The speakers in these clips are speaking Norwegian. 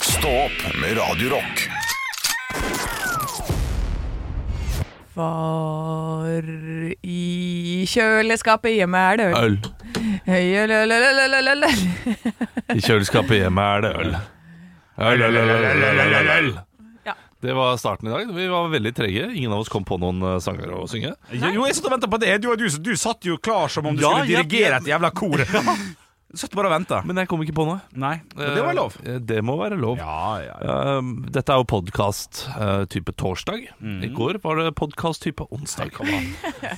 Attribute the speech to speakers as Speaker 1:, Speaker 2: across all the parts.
Speaker 1: Stå opp med Radio Rock.
Speaker 2: Var i kjøleskapet hjemme er det øl.
Speaker 3: Øl.
Speaker 2: Øl-øl-øl-øl-øl-øl.
Speaker 3: I kjøleskapet hjemme er det øl. Øl, øl, øl, øl, øl, øl, øl, øl, øl.
Speaker 2: Ja.
Speaker 3: Det var starten i dag. Vi var veldig trege. Ingen av oss kom på noen eh, sanger å synge.
Speaker 4: Jo, jo, jeg satt og ventet på det. Du, du, du satt jo klar som om du
Speaker 3: Ja,
Speaker 4: skulle
Speaker 3: jeg-
Speaker 4: dirigere et jævla kor. Du satt bare og ventet.
Speaker 3: Men jeg kom ikke på noe.
Speaker 4: Nei, men det var lov.
Speaker 3: Eh, Det må være lov.
Speaker 4: Ja, ja, ja.
Speaker 3: Um, dette er jo podkast type torsdag. I går var det podkast type onsdag.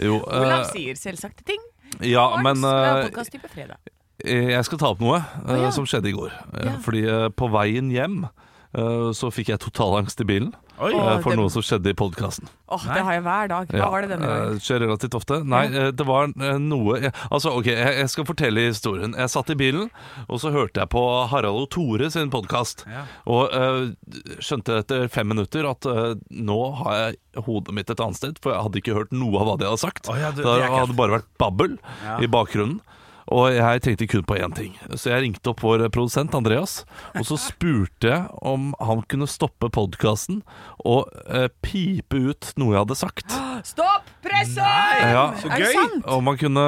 Speaker 3: Jo, eh,
Speaker 2: Olav sier selvsagte ting.
Speaker 3: ja, men eh,
Speaker 2: Podkast-type fredag.
Speaker 3: jeg skal ta opp noe eh,
Speaker 2: Å, ja.
Speaker 3: som skjedde i går. Eh,
Speaker 2: Ja.
Speaker 3: Fordi eh, på veien hjem eh, så fikk jeg totalangst i bilen
Speaker 4: Oi.
Speaker 3: eh,
Speaker 2: Å,
Speaker 3: for
Speaker 2: det-
Speaker 3: noe som skjedde i podkasten.
Speaker 2: Åh, det har jeg hver dag. Hva var det denne gangen?
Speaker 3: eh, Skjer relativt ofte. Nei, eh, det var eh, noe jeg, Altså, ok, jeg, jeg skal fortelle historien. Jeg satt i bilen, og så hørte jeg på Harald og Tore sin podkast.
Speaker 4: Ja.
Speaker 3: Og eh, skjønte etter fem minutter at eh, nå har jeg hodet mitt et annet sted, for jeg hadde ikke hørt noe av hva de hadde sagt.
Speaker 4: Å ja, du-
Speaker 3: det,
Speaker 4: det er ekkelt.
Speaker 3: hadde bare vært babbel
Speaker 4: Ja.
Speaker 3: i bakgrunnen. Og jeg tenkte kun på én ting, så jeg ringte opp vår produsent Andreas. Og så spurte jeg om han kunne stoppe podkasten og eh, pipe ut noe jeg hadde sagt.
Speaker 2: Stopp pressen!
Speaker 3: eh, Ja,
Speaker 4: Så
Speaker 2: Er det
Speaker 4: gøy!
Speaker 2: sant?
Speaker 3: om man kunne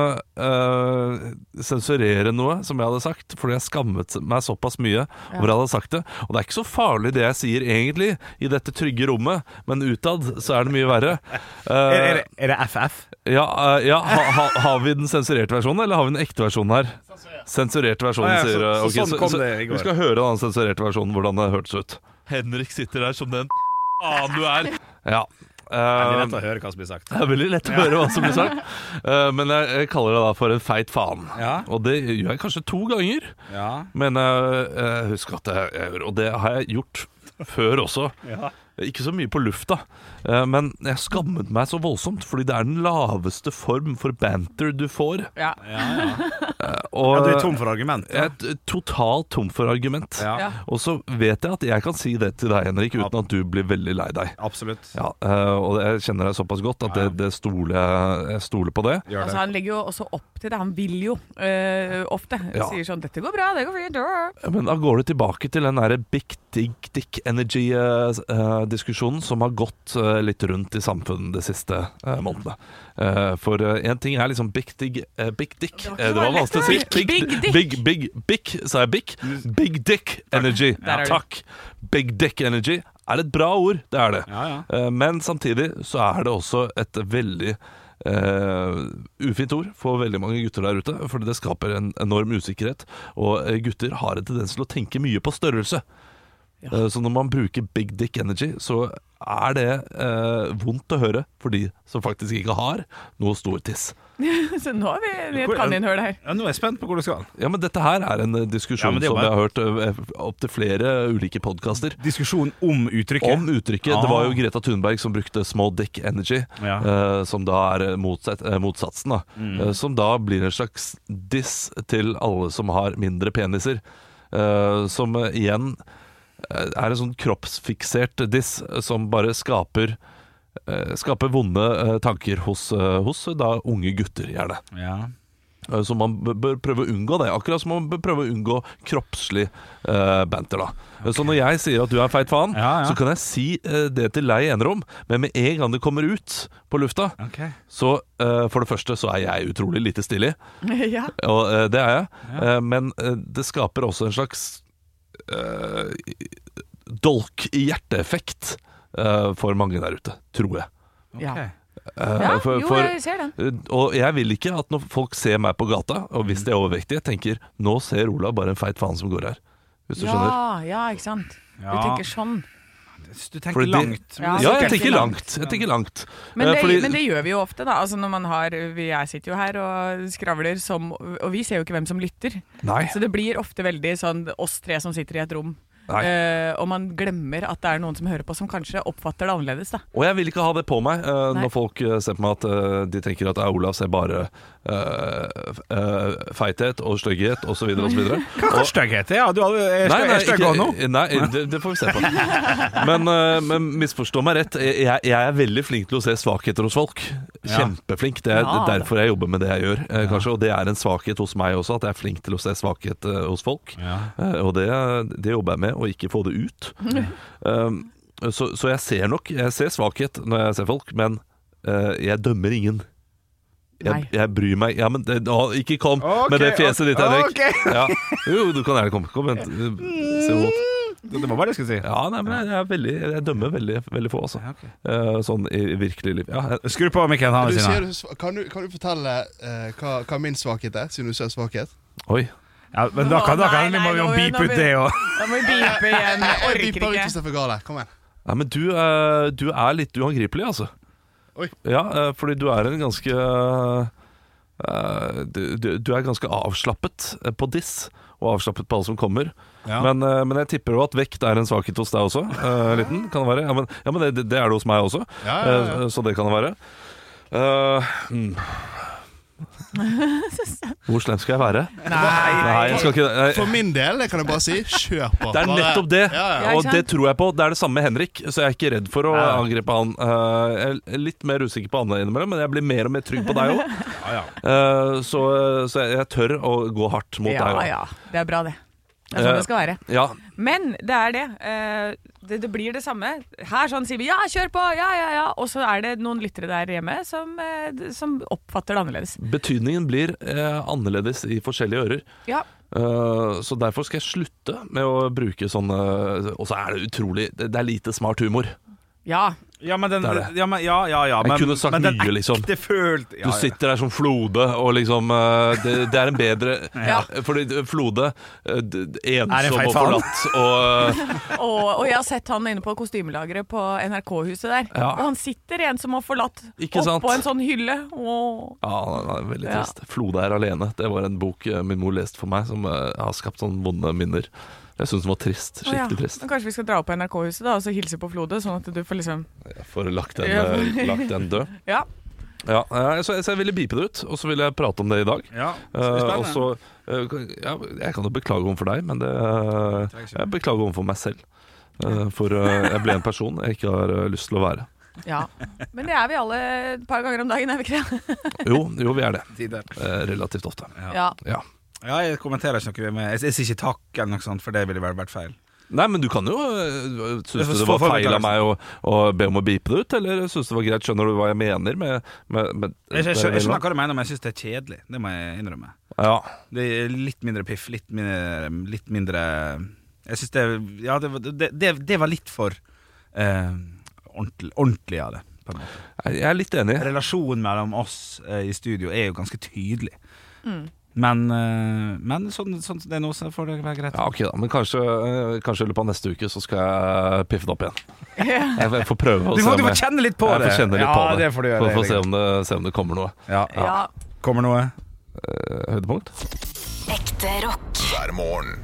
Speaker 3: eh, sensurere noe som jeg hadde sagt, fordi jeg skammet meg såpass mye over jeg hadde sagt det. Og det er ikke så farlig det jeg sier egentlig, i dette trygge rommet, men utad så er det mye verre. Eh,
Speaker 4: Er, er, det- er det FF?
Speaker 3: ja, eh, ja ha, ha, har vi den sensurerte versjonen, eller har vi den ekte versjonen her? Sensurerte versjonen,
Speaker 4: Ah, ja, så-
Speaker 3: sier eh,
Speaker 4: så
Speaker 3: ok,
Speaker 4: sånn kom det i går.
Speaker 3: Vi skal høre den sensurerte versjonen, hvordan det hørtes ut. Henrik sitter der som den annen du er. Ja.
Speaker 4: Det er
Speaker 3: eh,
Speaker 4: lett å høre hva som blir sagt.
Speaker 3: det er veldig lett å høre hva som blir sagt. Eh, men jeg, jeg kaller det da for en feit faen.
Speaker 4: Ja.
Speaker 3: Og det gjør jeg kanskje to ganger.
Speaker 4: Ja.
Speaker 3: Men jeg, jeg husker at jeg, jeg gjør Og det har jeg gjort før også.
Speaker 4: Ja.
Speaker 3: Ikke så mye på lufta, eh, men jeg skammet meg så voldsomt. Fordi det er den laveste form for banter du får.
Speaker 2: Ja.
Speaker 3: Og
Speaker 4: Ja, du er tom for argument.
Speaker 3: jeg er t- totalt tom for argument.
Speaker 4: Ja.
Speaker 2: Ja.
Speaker 3: Og så vet jeg at jeg kan si det til deg, Henrik, uten at du blir veldig lei deg.
Speaker 4: Absolutt.
Speaker 3: Ja, eh, og jeg kjenner deg såpass godt at det, det stoler jeg- jeg stoler på det.
Speaker 4: Gjør
Speaker 2: Altså,
Speaker 4: det.
Speaker 2: han legger jo også opp til det. Han vil jo øh, ofte.
Speaker 3: Ja.
Speaker 2: Sier sånn 'Dette går bra, det går fint'. øh».
Speaker 3: Men da går du tilbake til den derre big dick dick eh, energy-diskusjonen som har gått eh, litt rundt i samfunnet de siste eh, månedene. Eh, for én ting er liksom big dick eh, Big dick.
Speaker 2: Det var ikke
Speaker 3: Eh, det var
Speaker 2: bare
Speaker 3: vanskelig å si.
Speaker 2: lett, det. Big dick.
Speaker 3: Big, big, big, sa jeg big? Big dick energy.
Speaker 2: Der er du.
Speaker 3: Takk. Big dick energy er et bra ord, det er det.
Speaker 4: Ja, ja.
Speaker 3: Eh, Men samtidig så er det også et veldig eh, ufint ord for veldig mange gutter der ute, fordi det skaper en enorm usikkerhet. Og eh, gutter har en tendens til å tenke mye på størrelse.
Speaker 2: Ja.
Speaker 3: Eh, Så når man bruker big dick energy, så er det eh, vondt å høre for de som faktisk ikke har noe stor tiss.
Speaker 2: Så nå er vi i et
Speaker 4: Hvor-
Speaker 2: kaninhull her.
Speaker 4: Ja, nå er jeg spent på hvor det skal.
Speaker 3: Ja, men dette her er en eh,
Speaker 4: Ja,
Speaker 3: diskusjon
Speaker 4: men det er
Speaker 3: som
Speaker 4: bare-
Speaker 3: jeg har hørt eh, opp til flere ulike podkaster.
Speaker 4: Diskusjon om uttrykket. Ah.
Speaker 3: Om uttrykket. Det var jo Greta Thunberg som brukte 'small dick energy',
Speaker 4: Ja. Mm.
Speaker 3: eh, som da er motsatt, eh, motsatsen. Da. Eh, som da blir en slags diss til alle som har mindre peniser. Eh, som eh, igjen eh, er en sånn kroppsfiksert diss eh, som bare skaper eh, Skaper vonde eh, tanker hos, eh, hos eh, da unge gutter, gjerne.
Speaker 4: ja.
Speaker 3: Eh, Så man b- bør prøve å unngå det. Akkurat som man bør prøve å unngå kroppslig eh, banter. da Eh, Så når jeg sier at du er en feit faen,
Speaker 4: Ja, ja.
Speaker 3: så kan jeg si eh, det til deg i enerom, men med en gang det kommer ut på lufta,
Speaker 4: Ok.
Speaker 3: så eh, for det første så er jeg utrolig lite stilig,
Speaker 2: ja.
Speaker 3: og eh, det er jeg, Eh, men eh, det skaper også en slags eh, dolk i hjerteeffekt eh, for mange der ute, tror jeg.
Speaker 2: ja.
Speaker 4: Ok.
Speaker 3: Eh,
Speaker 2: ja.
Speaker 3: for-
Speaker 2: Jo,
Speaker 3: for-
Speaker 2: jeg ser den.
Speaker 3: Uh, Og jeg vil ikke at når folk ser meg på gata, og hvis de er overvektige, tenker nå ser Olav bare en feit faen som går her. Hvis du skjønner.
Speaker 2: Ja, ja, ikke sant. Du
Speaker 4: Ja.
Speaker 2: tenker sånn.
Speaker 4: Du tenker
Speaker 3: Fordi det-
Speaker 4: langt.
Speaker 2: Ja,
Speaker 3: Ja,
Speaker 2: så
Speaker 3: jeg
Speaker 2: tenker
Speaker 3: tenker
Speaker 2: vi
Speaker 3: langt. Jeg tenker langt.
Speaker 2: Men
Speaker 3: Eh,
Speaker 2: det,
Speaker 3: fordi-
Speaker 2: men det gjør vi jo ofte, da. Altså når man har vi- Jeg sitter jo her og skravler som Og vi ser jo ikke hvem som lytter.
Speaker 3: Nei.
Speaker 2: Så det blir ofte veldig sånn oss tre som sitter i et rom.
Speaker 3: Nei.
Speaker 2: Eh, og man glemmer at det er noen som hører på, som kanskje oppfatter det annerledes, da.
Speaker 3: Og jeg vil ikke ha det på meg eh,
Speaker 2: Nei.
Speaker 3: når folk eh, ser på meg at eh, de tenker at eh, Olav ser bare eh, f- eh, feithet og stygghet osv. osv.
Speaker 4: Hva slags stygghet er det? Ja, du hadde- er stygg- er stygg også nå?
Speaker 3: nei det, det får vi se på. Men, eh, men misforstå meg rett, jeg, jeg er veldig flink til å se svakheter hos folk. Kjempeflink. Det er
Speaker 2: Ja,
Speaker 3: det
Speaker 2: da.
Speaker 3: er derfor jeg jobber med det jeg gjør, eh, kanskje. Og det er en svakhet hos meg også, at jeg er flink til å se svakhet eh, hos folk.
Speaker 4: Ja.
Speaker 3: Eh, og det, det jobber jeg med, å ikke få det ut. Um, så, så jeg ser nok Jeg ser svakhet når jeg ser folk, men eh, jeg dømmer ingen. Jeg,
Speaker 2: Nei.
Speaker 3: jeg bryr meg Ja, men det, å, ikke kom
Speaker 4: Ok,
Speaker 3: med det fjeset ditt,
Speaker 4: ok,
Speaker 3: Henrik.
Speaker 4: ok.
Speaker 3: Ja. Jo, du kan gjerne komme. Kom, vent. Se hvor godt.
Speaker 4: Det var bare det jeg skulle si.
Speaker 3: Ja, nei, men jeg, er veldig, jeg dømmer veldig, veldig få, altså.
Speaker 4: Ja, ok.
Speaker 3: Eh, sånn i virkelig liv. Ja, jeg-
Speaker 4: Skru på Mikael
Speaker 5: Du
Speaker 4: Hanne
Speaker 5: sier
Speaker 4: sine.
Speaker 5: du sva- kan, du, kan du fortelle eh, hva, hva min svakhet er, siden du ser svakhet?
Speaker 3: oi.
Speaker 4: Ja, men da kan, da kan,
Speaker 2: Å, nei,
Speaker 4: vi må
Speaker 2: nei,
Speaker 4: jo
Speaker 2: nå-
Speaker 4: beepe
Speaker 2: nå
Speaker 4: ut
Speaker 2: blir-
Speaker 4: det òg.
Speaker 2: Da må vi beepe igjen. Jeg
Speaker 5: Jeg
Speaker 2: orker
Speaker 5: bipper ut
Speaker 2: ikke.
Speaker 5: hvis det er for gale. Kom igjen.
Speaker 3: Nei, men du, eh, du er litt uangripelig, altså.
Speaker 5: Oi.
Speaker 3: Ja, eh, fordi du er en ganske eh, du, du du er ganske avslappet eh, på diss, og avslappet på alle som kommer.
Speaker 4: Ja.
Speaker 3: Men, eh, men jeg tipper jo at vekt er en svakhet hos deg også. eh, liten, kan det være. Ja, men, ja, men det, det er det hos meg også,
Speaker 5: Ja, ja, ja.
Speaker 3: eh, så det kan det være. Eh, mm. Hvor slem skal jeg være? Nei, jeg skal ikke det.
Speaker 5: For min del det kan jeg bare si kjør på.
Speaker 3: Det er
Speaker 5: Bare-
Speaker 3: nettopp det,
Speaker 5: Ja, ja.
Speaker 2: Ja, ikke
Speaker 3: og det
Speaker 2: sant?
Speaker 3: tror jeg på. Det er det samme med Henrik, så jeg er ikke redd for å
Speaker 4: Nei.
Speaker 3: angripe han. Eh, jeg er litt mer usikker på Anne innimellom, men jeg blir mer og mer trygg på deg òg.
Speaker 4: Ja, ja.
Speaker 3: så så jeg, jeg tør å gå hardt mot
Speaker 2: Ja,
Speaker 3: deg Eh. òg.
Speaker 2: ja. Det er bra, det. Det er sånn det skal være.
Speaker 3: Ja,
Speaker 2: Men det er det. Eh, det. Det blir det samme. Her sånn sier vi ja, kjør på, ja, ja, ja. Og så er det noen lyttere der hjemme som, eh, d- som oppfatter det annerledes.
Speaker 3: betydningen blir eh, annerledes i forskjellige ører.
Speaker 2: Ja,
Speaker 3: Eh, så derfor skal jeg slutte med å bruke sånn eh, Og så er det utrolig Det det er lite smart humor.
Speaker 2: ja.
Speaker 4: Ja, men den
Speaker 3: Det er det.
Speaker 4: Ja, men, ja, ja, ja,
Speaker 3: Jeg
Speaker 4: men,
Speaker 3: kunne sagt
Speaker 4: men den
Speaker 3: mye, liksom.
Speaker 4: ekte følt ja,
Speaker 3: Du sitter der som Flode, og liksom eh, det, det er en bedre
Speaker 2: Ja.
Speaker 3: Fordi Flode eh, d- d-
Speaker 4: Er en
Speaker 3: Ensom
Speaker 4: feit
Speaker 3: og
Speaker 4: faen.
Speaker 3: forlatt og eh,
Speaker 2: Og, og jeg har sett han inne på kostymelageret på NRK-huset der.
Speaker 3: Ja.
Speaker 2: Og han sitter en som har forlatt
Speaker 3: Ikke sant?
Speaker 2: oppå en sånn hylle. Åh.
Speaker 3: Ja, han er veldig
Speaker 2: Ja.
Speaker 3: trist. 'Flode er alene'. Det var en bok eh, min mor leste for meg, som eh, har skapt sånne vonde minner. Jeg syns den var trist.
Speaker 2: Å ja.
Speaker 3: Skikkelig trist.
Speaker 2: Men kanskje vi skal dra opp på NRK-huset da og så hilse på Flode, sånn at du får liksom
Speaker 3: Jeg får lagt den,
Speaker 2: Ja.
Speaker 3: eh, lagt den død.
Speaker 2: Ja.
Speaker 3: Ja, eh, så, så jeg ville bipe det ut, og så ville jeg prate om det i dag.
Speaker 4: Ja,
Speaker 3: Eh, og så eh, kan- ja, Jeg kan jo beklage overfor deg, men det eh, Jeg beklager overfor meg selv. Eh, For eh, jeg ble en person jeg ikke har eh, lyst til å være.
Speaker 2: ja. Men det er vi alle et par ganger om dagen, er vi ikke det?
Speaker 3: Jo, jo vi er det.
Speaker 4: Tider.
Speaker 3: Eh, Relativt ofte.
Speaker 2: Ja.
Speaker 3: Ja.
Speaker 4: Ja, jeg kommenterer ikke noe med Jeg, jeg sier ikke takk eller noe sånt, for det ville vel vært feil.
Speaker 3: Nei, men du kan jo eh, Syns
Speaker 4: får-
Speaker 3: du det var
Speaker 4: får- får
Speaker 3: feil
Speaker 4: beklagelse.
Speaker 3: av meg å, å be om å beepe det ut, eller syns du det var greit? Skjønner du hva jeg mener med, med, med
Speaker 4: Jeg, jeg, skjø- jeg skjønner hva du mener, men jeg syns det er kjedelig. Det må jeg innrømme.
Speaker 3: Ja.
Speaker 4: Det er Litt mindre piff, litt mindre, litt mindre Jeg syns det Ja, det, var- det, det, det var litt for eh, ordentlig, ordentlig av det. På en måte.
Speaker 3: Jeg er litt enig.
Speaker 4: Relasjonen mellom oss eh, i studio er jo ganske tydelig.
Speaker 2: Mm.
Speaker 4: Men, eh, men sånn, sånn som det er nå, så får det være greit.
Speaker 3: Ja, ok da, Men kanskje, eh, kanskje i løpet av neste uke så skal jeg piffe det opp igjen. Jeg jeg får prøve å
Speaker 4: Du
Speaker 3: se
Speaker 4: må,
Speaker 3: om
Speaker 4: du må
Speaker 3: jeg-
Speaker 4: kjenne litt på
Speaker 3: jeg
Speaker 4: det.
Speaker 3: får kjenne litt
Speaker 4: ja,
Speaker 3: på det.
Speaker 4: det får du gjøre.
Speaker 3: For, for å se
Speaker 4: Erik.
Speaker 3: om det, se om det kommer noe
Speaker 4: Ja.
Speaker 2: ja.
Speaker 4: Kommer noe?
Speaker 3: eh, høydepunkt.
Speaker 6: Ekte rock.
Speaker 1: hver morgen.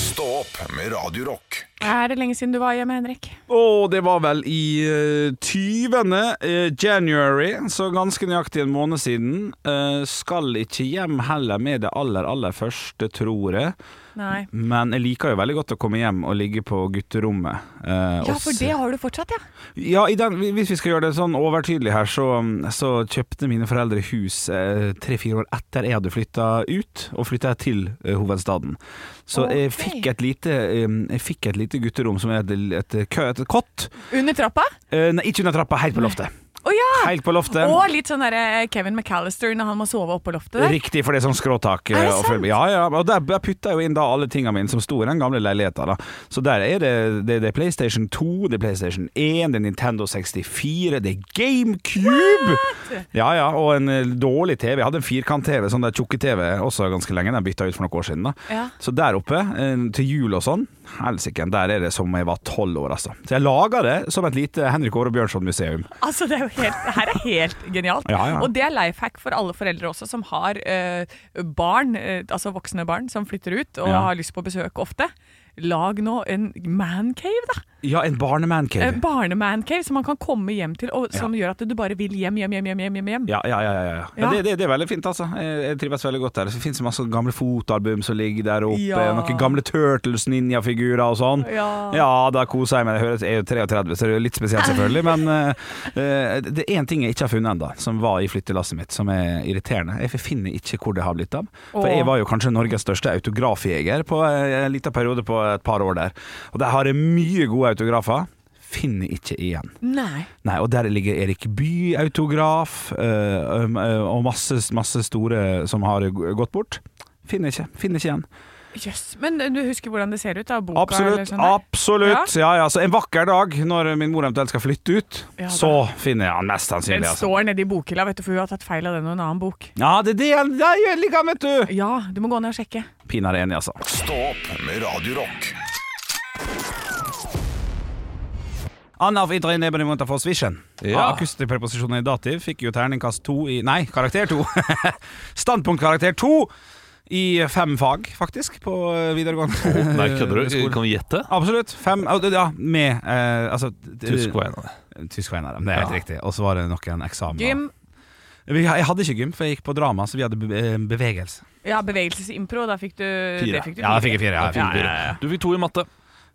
Speaker 1: Stå opp med Radio Rock.
Speaker 2: Er det lenge siden du var hjemme, Henrik?
Speaker 4: Og det var vel i eh, 20. eh, january, så ganske nøyaktig en måned siden. Eh, skal ikke hjem heller med det aller, aller første, tror jeg.
Speaker 2: Nei.
Speaker 4: Men jeg liker jo veldig godt å komme hjem og ligge på gutterommet. eh,
Speaker 2: Ja,
Speaker 4: og
Speaker 2: for
Speaker 4: se-
Speaker 2: det har du fortsatt, ja.
Speaker 4: Ja, i den, hvis vi skal gjøre det sånn overtydelig her, så, så kjøpte mine foreldre hus eh, tre-fire år etter jeg hadde flytta ut, og flytta til eh, hovedstaden. Så jeg,
Speaker 2: Ok.
Speaker 4: fikk et lite, eh, jeg fikk et lite gutterom som er et, et, kø- et kott.
Speaker 2: Under trappa?
Speaker 4: Eh, nei, ikke under trappa, helt på loftet.
Speaker 2: Å ja!
Speaker 4: Helt på loftet.
Speaker 2: Og litt sånn der Kevin McAllister når han må sove oppå loftet der.
Speaker 4: Riktig, for det er sånn skråtak.
Speaker 2: Er det
Speaker 4: eh, og
Speaker 2: sant?
Speaker 4: følge- Ja, ja, og der, der putta jeg jo inn da alle tingene mine som sto i den gamle leiligheta. da. Så der er det, det, det er PlayStation 2, det er PlayStation 1, det er Nintendo 64, det er GameCube! Ja, ja, og en eh, dårlig TV. Jeg hadde en firkant-TV, sånn der tjukke-TV, også ganske lenge. Den bytta jeg ut for noen år siden. da.
Speaker 2: Ja.
Speaker 4: Så der oppe, eh, til jul og sånn, helsike, der er det som om jeg var tolv år, altså. Så jeg laga det som et lite Henrik Åre Bjørnson-museum.
Speaker 2: Altså, det, er jo helt, det her er helt genialt.
Speaker 4: Ja, ja.
Speaker 2: Og det er life hack for alle foreldre også, som har eh, barn, eh, altså voksne barn, som flytter ut og
Speaker 4: Ja.
Speaker 2: har lyst på besøk ofte. Lag nå en mancave, da.
Speaker 4: Ja, en barnemancave.
Speaker 2: Eh, Barnemancave som man kan komme hjem til, og som gjør at du bare vil hjem, hjem, hjem. hjem, hjem, hjem, hjem.
Speaker 4: Ja, ja, ja. ja, ja. ja
Speaker 2: Ja.
Speaker 4: det, det, det er veldig fint, altså. Jeg, jeg trives veldig godt der. Det finnes masse gamle fotoalbum som ligger der oppe.
Speaker 2: Ja.
Speaker 4: Noen gamle Turtles, ninjafigurer og sånn.
Speaker 2: Ja.
Speaker 4: da koser jeg meg. Jeg høres- jeg er jo 33, så det er jo litt spesielt, selvfølgelig. Men eh, eh, det er én ting jeg ikke har funnet ennå, som var i flyttelasset mitt, som er irriterende. Jeg finner ikke hvor det har blitt av. For
Speaker 2: Åh.
Speaker 4: jeg var jo kanskje Norges største autografjeger på eh, en liten periode på et par år der. Og der har jeg mye gode autografer. Finner ikke igjen.
Speaker 2: Nei.
Speaker 4: Nei, og der ligger Erik Bye-autograf øh, øh, øh, og masse, masse store som har g- gått bort. Finner ikke, finner ikke igjen.
Speaker 2: Jøss. Men eh, du husker hvordan det ser ut? da, boka eller
Speaker 4: Absolutt.
Speaker 2: sånn der?
Speaker 4: absolutt ja, ja, Så en vakker dag, når min mor eventuelt skal flytte ut,
Speaker 2: Ja, da.
Speaker 4: så finner jeg han mest
Speaker 2: Den
Speaker 4: sannsynlig. Altså.
Speaker 2: står nedi bokhylla, vet du, for hun har tatt feil av den og en annen bok.
Speaker 4: Ja, det er det han det er jeg liker, vet du!
Speaker 2: Ja, du må gå ned og sjekke.
Speaker 4: Pinadø enig, altså.
Speaker 1: Stå opp med Radio Rock.
Speaker 4: Anna av Idrin Ebenemonta for Svisjen.
Speaker 3: Ja.
Speaker 4: Ja. Akustikkpreposisjonen i dativ fikk jo terningkast to i Nei, karakter to. Standpunktkarakter to i fem fag, faktisk, på eh, videregående.
Speaker 3: Nei, kødder du?
Speaker 4: skole.
Speaker 3: Kan vi gjette?
Speaker 4: Absolutt. Fem ja, det- Ja, med eh, altså, d-
Speaker 3: Tysk var en av dem.
Speaker 4: Tysk var en av dem. Det er helt
Speaker 3: Ja.
Speaker 4: riktig. Og så var det noen eksamener.
Speaker 2: Gym.
Speaker 4: Vi- Jeg hadde ikke gym, for jeg gikk på drama, så vi hadde be eh, bevegelse.
Speaker 2: Ja, bevegelsesimpro. Da fikk du
Speaker 3: Fire.
Speaker 2: Det fikk du
Speaker 4: Ja, jeg fikk jeg fire. Ja, jeg fikk
Speaker 2: Ja,
Speaker 4: fire.
Speaker 2: ja,
Speaker 3: Du fikk to i matte.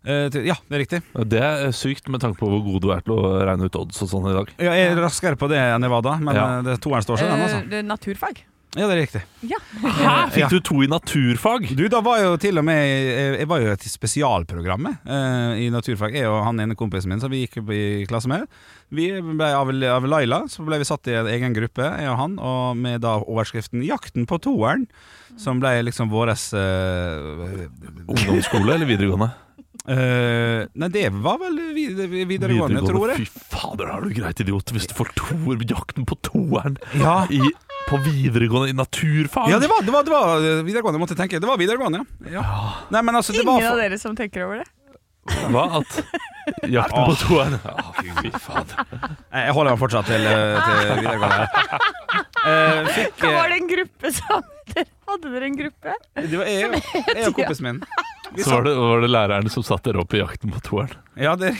Speaker 4: Eh, ty- ja, det er riktig.
Speaker 3: Det er sykt med tanke på hvor god du er til å regne ut odds og sånn i dag.
Speaker 4: Ja, jeg er raskere på det enn jeg var da, men
Speaker 3: Ja.
Speaker 4: eh, det toeren står seg, den, altså.
Speaker 2: Eh, det er naturfag.
Speaker 4: Ja, det er riktig. Eh,
Speaker 2: Ja.
Speaker 3: Hæ? Fikk
Speaker 4: Ja.
Speaker 3: du to i naturfag?
Speaker 4: Du, da var jeg jo til og med eh, Jeg, jeg var jo i spesialprogrammet eh, i naturfag. Jeg og han ene kompisen min som vi gikk i klasse med. Vi ble av, av Laila så ble vi satt i en egen gruppe, jeg og han, og med da overskriften 'Jakten på toeren', som ble liksom våres eh,
Speaker 3: Ungdomsskole eller videregående?
Speaker 4: eh, Nei, det var vel vid videregående, tror jeg.
Speaker 3: Fy fader, da er du greit idiot hvis du får toer jakten på toeren
Speaker 4: Ja.
Speaker 3: i, på videregående i naturfag.
Speaker 4: Ja, det var, det, var, det var videregående, måtte jeg tenke. Det var videregående, ja. ja. Nei, men altså, det
Speaker 2: Ingen
Speaker 4: var
Speaker 2: av dere som tenker over det?
Speaker 3: Hva? At jakten på toeren Å, Fy fader.
Speaker 4: Nei, Jeg holder meg fortsatt til, eh, til videregående. Eh, fikk,
Speaker 2: Da
Speaker 4: eh,
Speaker 2: var det en gruppe som dere- Hadde dere en gruppe?
Speaker 4: Det var E jeg, jeg og kompisen min. Vi
Speaker 3: Så var det, var det læreren som satt dere opp i jakten på toeren.
Speaker 4: Ja, det,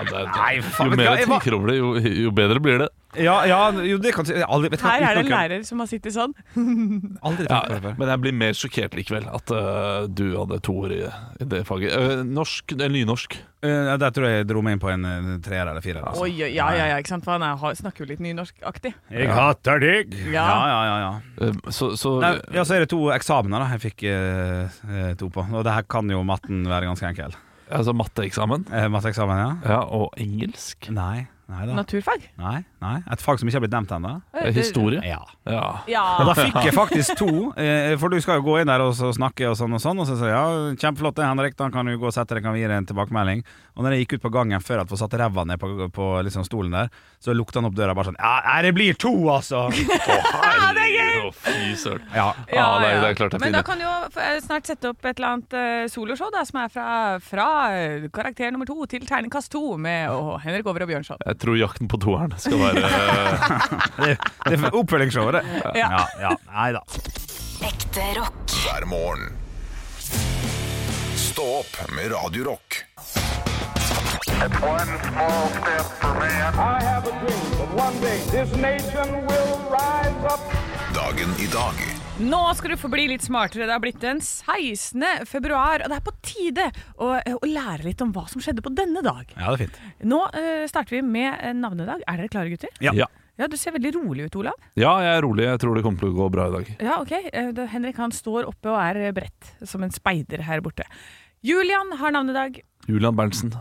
Speaker 3: Ja, det, er-
Speaker 4: Nei, faen,
Speaker 3: jo mer
Speaker 4: vet du hva,
Speaker 3: jeg
Speaker 4: jeg var-
Speaker 3: tenker over det, jo, jo bedre blir det.
Speaker 4: ja, ja jo, det kan jeg aldri, vet du hva,
Speaker 2: Her er det en
Speaker 4: uten å kødde.
Speaker 2: lærer som har sittet sånn.
Speaker 4: Aldri
Speaker 3: Ja,
Speaker 4: tenkt på det før.
Speaker 3: men jeg blir mer sjokkert likevel at eh, du hadde toer i, i det faget. Eh, norsk, eller nynorsk.
Speaker 4: Eh, der tror jeg jeg dro meg inn på en eh, treer eller firer. Altså.
Speaker 2: Oi, oi, ja, ja, ja, ikke sant? For han er, har- snakker jo litt nynorskaktig.
Speaker 4: Jeg hater deg! Ja,
Speaker 2: Ja.
Speaker 4: ja, ja. ja.
Speaker 3: Eh, så så
Speaker 4: Nei, ja så er det to eksamener da jeg fikk eh, eh, to på. Og det her kan jo matten være ganske enkel.
Speaker 3: altså matteeksamen
Speaker 4: Eh, Matteeksamen, ja?
Speaker 3: ja, og engelsk.
Speaker 4: Nei. Nei da.
Speaker 2: Naturfag.
Speaker 4: Nei, nei. Et fag som ikke har blitt nevnt ennå.
Speaker 2: Eh,
Speaker 3: Eh,
Speaker 2: det-
Speaker 3: Historie.
Speaker 4: Ja.
Speaker 3: Ja.
Speaker 4: Og
Speaker 2: Ja.
Speaker 4: da fikk jeg faktisk to, eh, for du skal jo gå inn der og så snakke og sånn og sånn. Og så sier jeg ja, kjempeflott det, Henrik, da kan du gå og sette deg, kan vi gi deg en tilbakemelding. Og når jeg gikk ut på gangen før at vi satte ræva ned på, på liksom stolen der, så lukta han opp døra bare sånn Ja, nei, det blir to, altså!
Speaker 3: det er gøy! fy søren.
Speaker 4: Ja.
Speaker 3: Ja, det er- det er klart det er
Speaker 2: Men da
Speaker 3: fint.
Speaker 2: kan du jo eh, snart sette opp et eller annet eh, soloshow da, som er fra, fra eh, karakter nummer to til terningkast to med å, Henrik Over og Bjørnson.
Speaker 3: Jeg tror jakten på toeren skal være eh,
Speaker 4: Det, det er oppfølgingsshowet, det.
Speaker 2: Ja.
Speaker 4: Ja, ja. Nei da.
Speaker 6: Ekte rock.
Speaker 1: hver morgen. Stå opp med Radio Rock.
Speaker 7: One small step for man. I have a dream that one day this nation will rise up.
Speaker 1: Dagen i dag
Speaker 2: Nå skal du få bli litt smartere. Det har blitt den 16. februar, og det er på tide å, eh, å lære litt om hva som skjedde på denne dag.
Speaker 4: Ja, det er fint.
Speaker 2: Nå eh, starter vi med eh, navnedag. Er dere klare, gutter?
Speaker 4: Ja.
Speaker 3: ja.
Speaker 2: Ja, Du ser veldig rolig ut, Olav.
Speaker 3: ja, jeg er rolig. Jeg tror det kommer til å gå bra i dag.
Speaker 2: Ja, ok. Eh, det- Henrik han står oppe og er eh, bredt, som en speider her borte. Julian har navnedag.
Speaker 3: Julian Berntsen.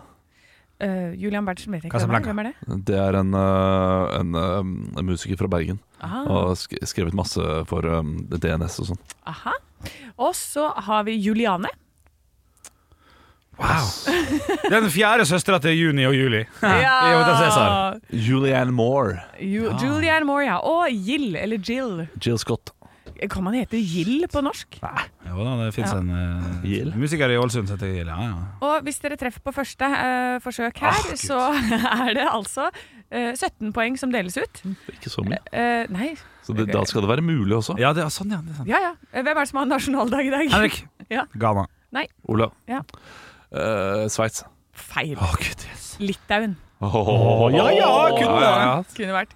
Speaker 2: Eh, Julian Berntsen vet jeg ikke hvem er.
Speaker 4: Casablanca.
Speaker 2: Hvem er det?
Speaker 3: Det er en, eh, en, eh, en musiker fra Bergen.
Speaker 2: Ah,
Speaker 3: Og sk skrevet masse for eh, DNS og sånn.
Speaker 2: aha. Og så har vi Juliane.
Speaker 4: Wow. Den fjerde søstera til Juni og Juli. I Hotel Cæsar.
Speaker 3: Julianne Moore.
Speaker 2: Ju Julianne Moore, ja. Og Jill, eller Jill.
Speaker 3: Jill Scott.
Speaker 2: Kan man hete Jill på norsk?
Speaker 4: Jo da, det fins
Speaker 2: Ja.
Speaker 4: en eh,
Speaker 3: Gill.
Speaker 4: musiker i Ålesund som heter Gill. Ja, ja.
Speaker 2: Og hvis dere treffer på første eh, forsøk her, så er det altså eh, 17 poeng som deles ut.
Speaker 3: Ikke så mye.
Speaker 2: Eh, nei,
Speaker 3: Så det, da skal det være mulig også.
Speaker 4: ja, det er sånn, ja. Det er sant.
Speaker 2: ja ja. Eh, Hvem er det som har nasjonaldag i dag?
Speaker 4: Henrik.
Speaker 2: Ja.
Speaker 4: Ghana.
Speaker 3: Olav.
Speaker 2: Ja.
Speaker 3: Eh, Sveits.
Speaker 2: Feil.
Speaker 3: Å, gud, yes.
Speaker 2: Litauen
Speaker 3: Åh,
Speaker 4: ja, ja, kunne
Speaker 3: ja,
Speaker 2: kunne vært.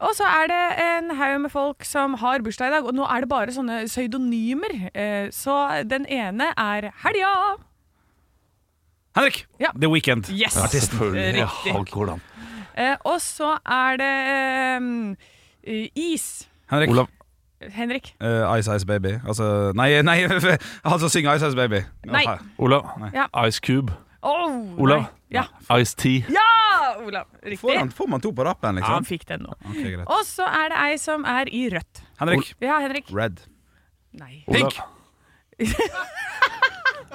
Speaker 2: Og så er det en haug med folk som har bursdag i dag, og nå er det bare sånne pseudonymer. Eh, Så den ene er Helja.
Speaker 4: Henrik!
Speaker 2: Ja.
Speaker 4: The Weekend.
Speaker 2: Yes!
Speaker 3: ja. Selvfølgelig.
Speaker 2: Eh, riktig.
Speaker 3: Ja, hvordan?
Speaker 2: Eh, Og så er det em, eh, Is.
Speaker 4: Henrik.
Speaker 3: Olav.
Speaker 2: Henrik.
Speaker 4: Eh, Ice Ice Baby. Altså Nei, nei han som synger Ice Ice Baby.
Speaker 2: Nei.
Speaker 3: Olav.
Speaker 2: Ja.
Speaker 3: Ice Cube.
Speaker 2: Oh,
Speaker 3: Olav.
Speaker 2: nei. Ja.
Speaker 3: Ice T.
Speaker 2: ja, Olav.
Speaker 4: Får,
Speaker 2: Riktig.
Speaker 4: han, får man to på rappen,
Speaker 2: Ja, han
Speaker 4: liksom?
Speaker 2: fikk den nå.
Speaker 4: Ok, greit.
Speaker 2: Og så er det ei som er i rødt.
Speaker 4: Henrik.
Speaker 2: Ja, Henrik.
Speaker 4: Red.
Speaker 2: Nei.
Speaker 3: Olav.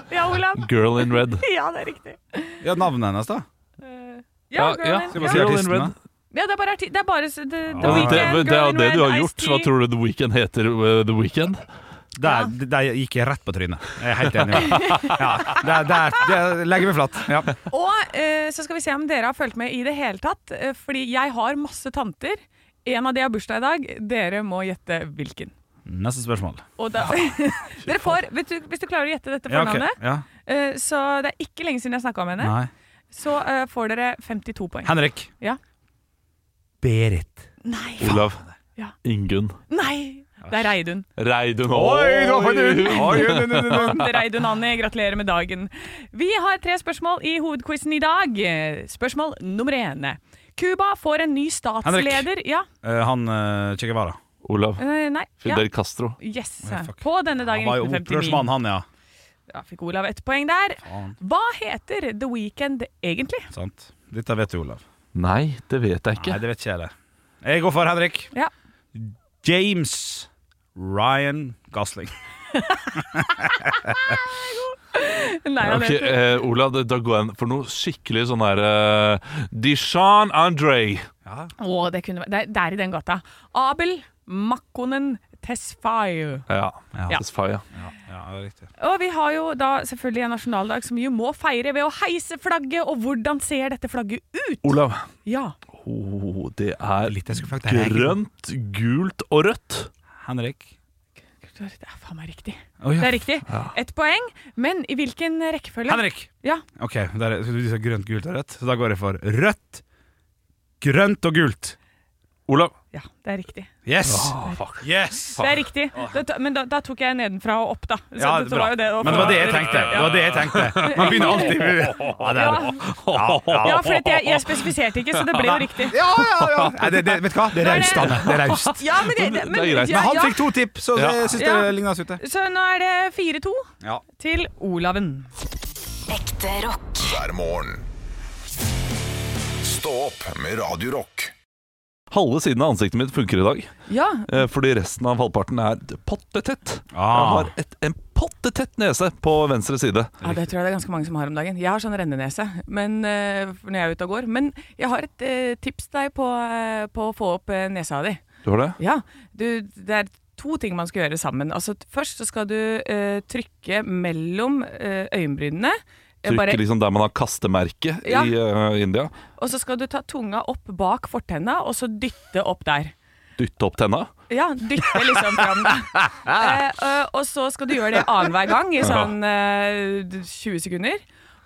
Speaker 2: Ja, Olav.
Speaker 3: Girl in Red.
Speaker 2: Ja, det er riktig.
Speaker 4: Ja, navnet hennes, da?
Speaker 2: Ja,
Speaker 3: ja.
Speaker 2: girl in- ja.
Speaker 4: Skal man si
Speaker 3: Girl in
Speaker 4: artisten,
Speaker 3: Red.
Speaker 4: da?
Speaker 2: Ja, det er bare arti Det er bare s- The, the
Speaker 3: Det,
Speaker 2: Weeknd,
Speaker 3: det,
Speaker 2: Girl
Speaker 3: det er jo
Speaker 2: in
Speaker 3: det du har
Speaker 2: Red,
Speaker 3: gjort.
Speaker 2: Ice-T.
Speaker 3: Hva tror du The Weeknd heter? uh, The Weeknd?
Speaker 4: Der, der gikk jeg rett på trynet. Jeg er helt enig. Ja, der, der, der legger vi flatt. Ja.
Speaker 2: Og eh, så skal vi se om dere har fulgt med i det hele tatt. eh, Fordi jeg har masse tanter. En av de har bursdag i dag. Dere må gjette hvilken.
Speaker 4: Neste spørsmål.
Speaker 2: Og da, dere får, vet du, hvis du klarer å gjette dette
Speaker 4: Ja, ok.
Speaker 2: fornavnet
Speaker 4: ja.
Speaker 2: eh, Så det er ikke lenge siden jeg snakka om henne.
Speaker 4: Nei.
Speaker 2: Så eh, får dere 52 poeng.
Speaker 4: Henrik.
Speaker 2: Ja.
Speaker 4: Berit.
Speaker 2: Nei!
Speaker 3: Olav.
Speaker 2: Ja.
Speaker 3: Ingunn.
Speaker 2: Nei! Det er Reidun.
Speaker 3: Reidun.
Speaker 4: Oi,
Speaker 2: Det er Reidun Anni, gratulerer med dagen. Vi har tre spørsmål i hovedquizen i dag. Eh, Spørsmål nummer én. Cuba får en ny statsleder Ja,
Speaker 4: Han eh, Che Guevara.
Speaker 3: Olav.
Speaker 2: eh, nei. Ja.
Speaker 3: Fidel Castro.
Speaker 2: Yes.
Speaker 4: Oi, fuck.
Speaker 2: På denne
Speaker 4: Han
Speaker 2: dagen
Speaker 4: var jo
Speaker 2: 1959.
Speaker 4: opprørsmann, han, ja.
Speaker 2: Ja, fikk Olav ett poeng der.
Speaker 4: Faen.
Speaker 2: Hva heter The Weekend egentlig?
Speaker 4: Sant. Dette vet du, Olav.
Speaker 3: Nei, det vet jeg
Speaker 4: Nei,
Speaker 3: ikke.
Speaker 4: det vet ikke jeg det. Jeg går for Henrik.
Speaker 2: Ja.
Speaker 4: James Ryan Gosling.
Speaker 2: Nei, han
Speaker 3: Ok,
Speaker 2: heter
Speaker 3: eh, Olav, da går jeg for noe skikkelig sånn her eh, Dijon Andre.
Speaker 2: Å, det kunne vært det, er- det er i den gata. Abel Makkonen Tesfaye.
Speaker 3: Ja.
Speaker 4: Ja.
Speaker 3: Tesfaye.
Speaker 4: Ja, det er riktig.
Speaker 2: Og vi har jo da selvfølgelig en nasjonaldag som vi jo må feire ved å heise flagget. Og hvordan ser dette flagget ut?
Speaker 3: Olav.
Speaker 2: Ja.
Speaker 3: Oh, det er
Speaker 4: Litt jeg skulle flagge til Henrik.
Speaker 3: grønt, gult og rødt.
Speaker 4: Henrik.
Speaker 2: Det er faen meg riktig.
Speaker 4: Å, ja.
Speaker 2: Det er riktig. Ett poeng, men i hvilken rekkefølge?
Speaker 4: Henrik!
Speaker 2: Ja.
Speaker 4: Ok, der, er- du sa grønt, gult og rødt, så da går jeg for rødt, grønt og gult.
Speaker 3: Olav.
Speaker 2: ja, det er riktig.
Speaker 4: Yes!
Speaker 3: fuck.
Speaker 4: Yes!
Speaker 2: Det er riktig. Da, men da, da tok jeg nedenfra og opp, da. Så
Speaker 4: Ja,
Speaker 2: dette
Speaker 4: bra.
Speaker 2: var jo det,
Speaker 4: Men det var det jeg tenkte. Det var det jeg tenkte. Man begynner alltid med Ja, det er bra.
Speaker 2: Ja, for at jeg, jeg spesifiserte ikke, så det ble jo riktig.
Speaker 4: Ja, ja, ja. Nei, det, det, vet du hva? Det er raust, Anne. Det er raust.
Speaker 2: Ja, men det, det, men,
Speaker 3: Det er
Speaker 2: ja,
Speaker 3: greit.
Speaker 4: Men han
Speaker 2: ja.
Speaker 4: fikk to tipp, så
Speaker 3: Ja.
Speaker 4: jeg syns det
Speaker 2: Ja.
Speaker 4: ligner oss ute.
Speaker 2: Så nå er det 4-2
Speaker 4: Ja.
Speaker 2: til Olaven.
Speaker 6: Ekte rock.
Speaker 1: hver morgen. Stå opp med Radio Rock.
Speaker 3: Halve siden av ansiktet mitt funker i dag,
Speaker 2: Ja,
Speaker 3: eh, fordi resten av halvparten er pottetett. Jeg
Speaker 4: Ah.
Speaker 3: har et, en pottetett nese på venstre side.
Speaker 2: ja, det tror jeg det er ganske mange som har om dagen. Jeg har sånn rennenese men, eh, når jeg er ute og går. Men jeg har et eh, tips til deg på, eh, på å få opp eh, nesa di.
Speaker 3: Du har det?
Speaker 2: Ja, du, det er to ting man skal gjøre sammen. Altså, t- først så skal du eh, trykke mellom eh, øyenbrynene. eh,
Speaker 3: Trykker
Speaker 2: bare-
Speaker 3: liksom der man har kastemerke
Speaker 2: Ja.
Speaker 3: i eh, India.
Speaker 2: og så skal du ta tunga opp bak fortenna, og så dytte opp der.
Speaker 3: Dytte opp tenna.
Speaker 2: Ja, dytte liksom fram da. Eh, eh, og så skal du gjøre det annenhver gang i sånn eh, 20 sekunder.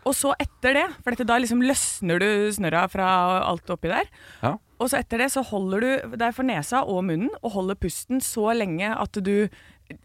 Speaker 2: Og så etter det, for dette, da liksom løsner du snørra fra alt oppi der.
Speaker 3: Ja.
Speaker 2: Og så etter det så holder du deg for nesa og munnen, og holder pusten så lenge at du,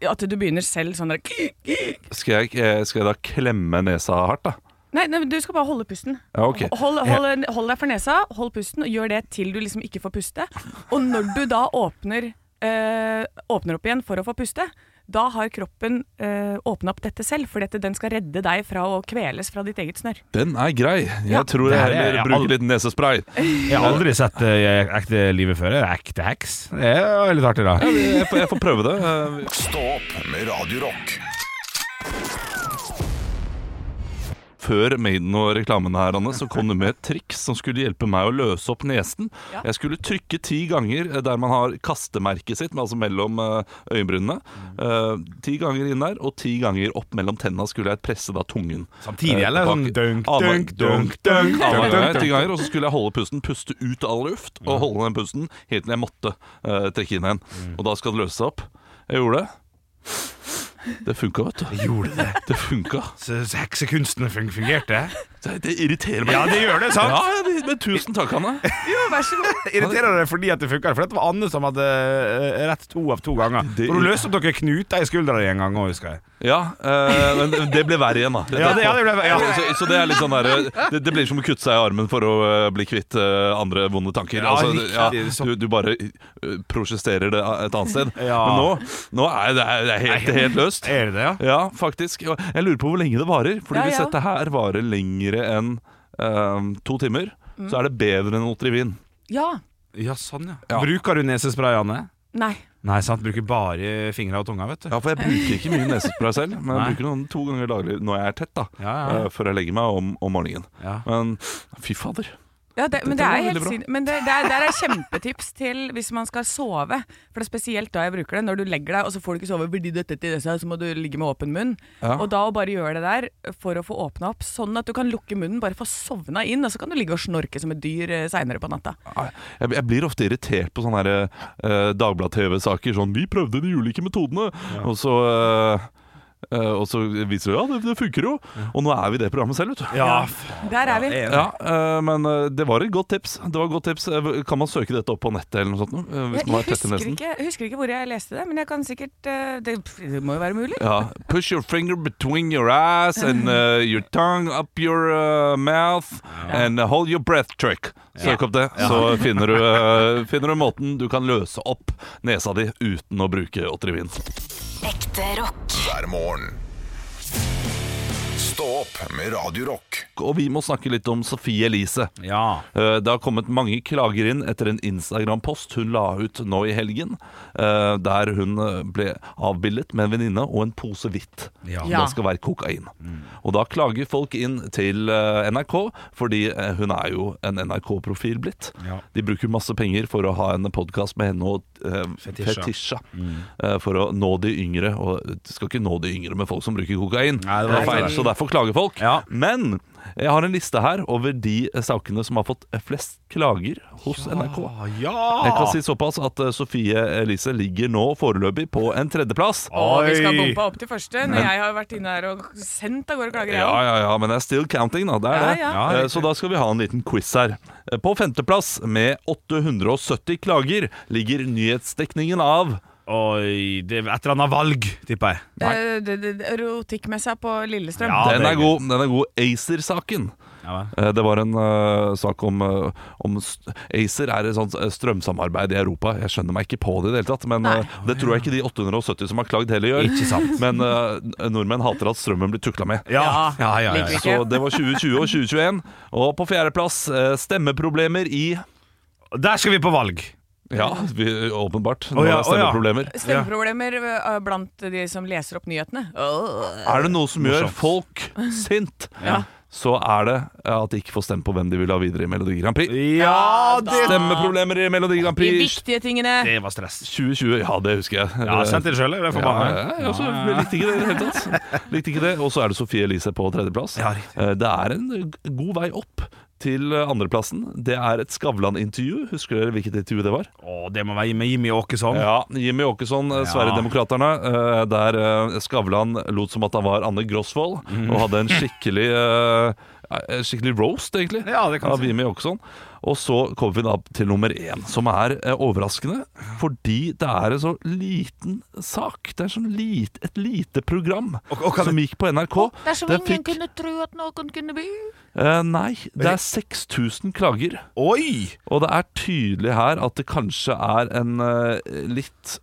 Speaker 2: at du begynner selv sånn der
Speaker 3: Skal jeg, eh, skal jeg da klemme nesa hardt, da?
Speaker 2: Nei, nei, men du skal bare holde pusten.
Speaker 3: Ja, ok.
Speaker 2: Hold, hold, hold deg for nesa, hold pusten, og gjør det til du liksom ikke får puste. Og når du da åpner, eh, åpner opp igjen for å få puste, da har kroppen eh, åpna opp dette selv, for dette, den skal redde deg fra å kveles fra ditt eget snørr.
Speaker 3: Den er grei. Jeg
Speaker 2: Ja.
Speaker 3: tror
Speaker 4: Det
Speaker 3: jeg
Speaker 4: her er
Speaker 3: heller
Speaker 4: jeg aldri-
Speaker 3: bruker litt nesespray.
Speaker 4: Jeg har aldri sett eh, ekte livet før. Det er ekte heks. Det er veldig artig, da.
Speaker 3: Jeg får, jeg får prøve det. Eh,
Speaker 1: Stå opp med Radio Rock.
Speaker 3: Før Maiden og reklamen her, Anne, så kom det med et triks som skulle hjelpe meg å løse opp nesen.
Speaker 2: Ja.
Speaker 3: Jeg skulle trykke ti ganger eh, der man har kastemerket sitt, men altså mellom eh, øyenbrynene.
Speaker 4: Mm.
Speaker 3: Eh, ti ganger inn der, og ti ganger opp mellom tenna skulle jeg presse da tungen.
Speaker 4: Samtidig,
Speaker 3: eh,
Speaker 4: eller? Sånn
Speaker 3: tilbake.
Speaker 4: dunk,
Speaker 3: Annen-
Speaker 4: dunk, dunk, dunk, Ah,
Speaker 3: Annen
Speaker 4: dunk,
Speaker 3: gang,
Speaker 4: dunk.
Speaker 3: ti ganger, og så skulle jeg holde pusten, puste ut all luft, og holde den pusten helt til jeg måtte eh, trekke inn igjen.
Speaker 4: Mm.
Speaker 3: Og da skal det løse seg opp. Jeg gjorde det. Det funka, vet du.
Speaker 4: Gjorde det.
Speaker 3: Det funka.
Speaker 4: Så så heksekunsten fun- fungerte?
Speaker 3: Det, det irriterer meg.
Speaker 4: Ja, det gjør det, sant?
Speaker 3: Ja, ja, det- men tusen takk, Hanne.
Speaker 2: Jo, vær så god.
Speaker 4: Irriterer det fordi at det funker? For dette var Anne som hadde eh, rett to av to ganger.
Speaker 3: Det-
Speaker 4: For hun løste opp noen knuter i skuldra en gang òg, husker jeg.
Speaker 3: Ja, eh, men det ble verre igjen, da.
Speaker 4: Ja, det- ja, det ble- ja.
Speaker 3: Så, så det er litt sånn der, det, det blir som å kutte seg i armen for å eh, bli kvitt eh, andre vonde tanker.
Speaker 4: Ja,
Speaker 3: altså,
Speaker 4: riktig,
Speaker 3: ja,
Speaker 4: så-
Speaker 3: du, du bare eh, prosjesterer det et annet sted.
Speaker 4: Ja.
Speaker 3: Men nå, nå er det, det er helt, helt løst.
Speaker 4: Er det det, ja?
Speaker 3: Ja, faktisk. Og Jeg lurer på hvor lenge det varer. Fordi
Speaker 2: Ja,
Speaker 3: hvis
Speaker 2: ja.
Speaker 3: dette her varer lengre enn eh, to timer,
Speaker 2: Mm.
Speaker 3: så er det bedre enn Otrivin.
Speaker 2: Ja.
Speaker 4: Ja, sånn, ja.
Speaker 3: Ja.
Speaker 4: Bruker du nesespray, Anne?
Speaker 2: Nei.
Speaker 4: Nei, sant. Bruker bare fingra og tunga, vet du.
Speaker 3: Ja, for jeg bruker ikke mye nesespray selv, men
Speaker 4: Nei.
Speaker 3: jeg bruker noen to ganger daglig når jeg er tett, da.
Speaker 4: Ja, ja.
Speaker 3: eh, før jeg legger meg om, om morgenen.
Speaker 4: Ja.
Speaker 3: Men fy fader.
Speaker 2: Ja, det, men det
Speaker 3: Dette var
Speaker 2: er
Speaker 3: veldig
Speaker 2: helt
Speaker 3: bra.
Speaker 2: sin... Men det, det, er, det er kjempetips til hvis man skal sove. For det er spesielt da jeg bruker det. Når du legger deg, og så får du ikke sove fordi dette til disse, så må du ligge med åpen munn.
Speaker 3: Ja.
Speaker 2: Og da å bare gjøre det der for å få åpna opp, sånn at du kan lukke munnen, bare få sovna inn, og så kan du ligge og snorke som et dyr eh, seinere på natta.
Speaker 3: Jeg, jeg blir ofte irritert på sånne her, eh, Dagblad-TV-saker. Sånn 'Vi prøvde de ulike metodene', og så eh, eh, og så viser det ja, det, det funker jo. Og nå er vi i det programmet selv, vet du.
Speaker 4: Ja,
Speaker 2: Der er vi.
Speaker 3: Ja, eh, Men eh, det var et godt tips. Det var et godt tips Eh, Kan man søke dette opp på nettet eller noe sånt? nå? Eh, Hvis
Speaker 2: Jeg, jeg,
Speaker 3: man er tett i
Speaker 2: husker
Speaker 3: nesen?
Speaker 2: ikke, jeg husker ikke hvor jeg leste det, men jeg kan sikkert eh, Det, det må jo være mulig.
Speaker 3: Ja. Push your finger between your ass and eh, your tongue up your eh, mouth and uh, hold your breath trick. Søk opp det, så finner du, eh, finner du måten du kan løse opp nesa di uten å bruke Otrivin.
Speaker 6: Ekte rock.
Speaker 1: hver morgen. Stå opp med Radio Rock.
Speaker 3: Og vi må snakke litt om Sofie Elise.
Speaker 4: ja.
Speaker 3: Eh, Det har kommet mange klager inn etter en Instagram-post hun la ut nå i helgen, eh, der hun eh, ble avbildet med en venninne og en pose hvitt.
Speaker 4: Ja.
Speaker 3: Det skal være kokain. Og da klager folk inn til eh, NRK, fordi eh, hun er jo en NRK-profil blitt.
Speaker 4: Ja.
Speaker 3: De bruker masse penger for å ha en podkast med henne og eh,
Speaker 4: Fetisha. Mm.
Speaker 3: Fetisha. eh, for å nå de yngre. Og du skal ikke nå de yngre med folk som bruker kokain.
Speaker 4: Nei, det
Speaker 3: det
Speaker 4: var
Speaker 3: er feil,
Speaker 4: feil.
Speaker 3: så derfor klager folk.
Speaker 4: Ja.
Speaker 3: Men jeg har en liste her over de eh, sakene som har fått flest klager hos NRK.
Speaker 4: Ah, ja!
Speaker 3: Jeg kan si såpass at eh, Sofie Elise ligger nå foreløpig på en tredjeplass.
Speaker 2: Og vi skal
Speaker 4: Oi.
Speaker 2: bompe opp til første når jeg har vært inne her og sendt av gårde klager. jeg
Speaker 3: Ja,
Speaker 2: også.
Speaker 3: ja, ja, men det er still counting, da. Det er det.
Speaker 2: Ja,
Speaker 4: ja.
Speaker 3: Eh, Så da skal vi ha en liten quiz her. Eh, På femteplass, med 870 klager, ligger nyhetsdekningen av
Speaker 4: Oi, det er et eller annet valg, tipper jeg.
Speaker 2: Eh, det- det- det- Erotikkmessa på Lillestrøm.
Speaker 4: Ja,
Speaker 3: Den
Speaker 4: det er
Speaker 3: er god, den er god. Acer-saken.
Speaker 4: Ja, vel.
Speaker 3: Eh, Det var en eh, sak om, eh, om st- Acer er et sånt eh, strømsamarbeid i Europa. Jeg skjønner meg ikke på det i det hele tatt, men
Speaker 2: Nei.
Speaker 3: eh, det tror jeg ikke de 870 som har klagd heller gjør.
Speaker 4: Ikke sant.
Speaker 3: Men eh, nordmenn hater at strømmen blir tukla med.
Speaker 4: Ja,
Speaker 2: Ja,
Speaker 4: ja, ja. ja,
Speaker 2: liker vi
Speaker 4: ja.
Speaker 2: ikke.
Speaker 3: Så det var 2020 og 2021. Og på fjerdeplass eh, stemmeproblemer i
Speaker 4: Der skal vi på valg.
Speaker 3: Ja, vi, åpenbart.
Speaker 4: Å
Speaker 3: Nå
Speaker 4: ja,
Speaker 3: er det
Speaker 4: å ja.
Speaker 3: stemmeproblemer.
Speaker 2: Stemmeproblemer eh, blant de som leser opp nyhetene. Åh.
Speaker 3: Er det noe som gjør
Speaker 4: Morsomt.
Speaker 3: folk sint,
Speaker 2: Ja.
Speaker 3: så er det eh, at de ikke får stemme på hvem de vil ha videre i Melodi Grand Prix.
Speaker 4: Ja, det,
Speaker 3: Stemmeproblemer i Melodi Grand
Speaker 2: De
Speaker 3: Prix
Speaker 2: viktige tingene.
Speaker 4: det var stress.
Speaker 3: 2020. Ja, det husker jeg.
Speaker 4: Ja, sendt inn sjøl, er det
Speaker 3: Ja,
Speaker 4: forbanna?
Speaker 3: ja, ja, altså, jeg likte ikke det i det hele tatt. Likte ikke det. Og så er det Sofie Elise på tredjeplass.
Speaker 4: Ja, riktig.
Speaker 3: Eh, Det er en g- god vei opp til eh, andreplassen. Det er et Skavlan-intervju. Husker dere hvilket intervju det var?
Speaker 4: Å, det må være med Jimmy Åkesson.
Speaker 3: Ja, Jimmy Åkesson, eh,
Speaker 4: Ja.
Speaker 3: Sverigedemokraterna. eh, Der eh, Skavlan lot som at han var Anne Grosvold,
Speaker 4: Mm.
Speaker 3: og hadde en skikkelig eh, eh, Skikkelig roast, egentlig,
Speaker 4: Ja, det kan
Speaker 3: av
Speaker 4: du si.
Speaker 3: Jimmy Åkesson. Og så kommer vi da til nummer én, som er eh, overraskende fordi det er en så liten sak. Det er sånn lit, et lite program
Speaker 4: Og- og kan-
Speaker 3: som gikk på NRK.
Speaker 8: Det er som
Speaker 3: Det
Speaker 8: ingen
Speaker 3: fikk-
Speaker 8: kunne tro at noen kunne bli.
Speaker 3: Eh, nei, det er 6000 klager.
Speaker 4: Oi!
Speaker 3: Og det er tydelig her at det kanskje er en eh, litt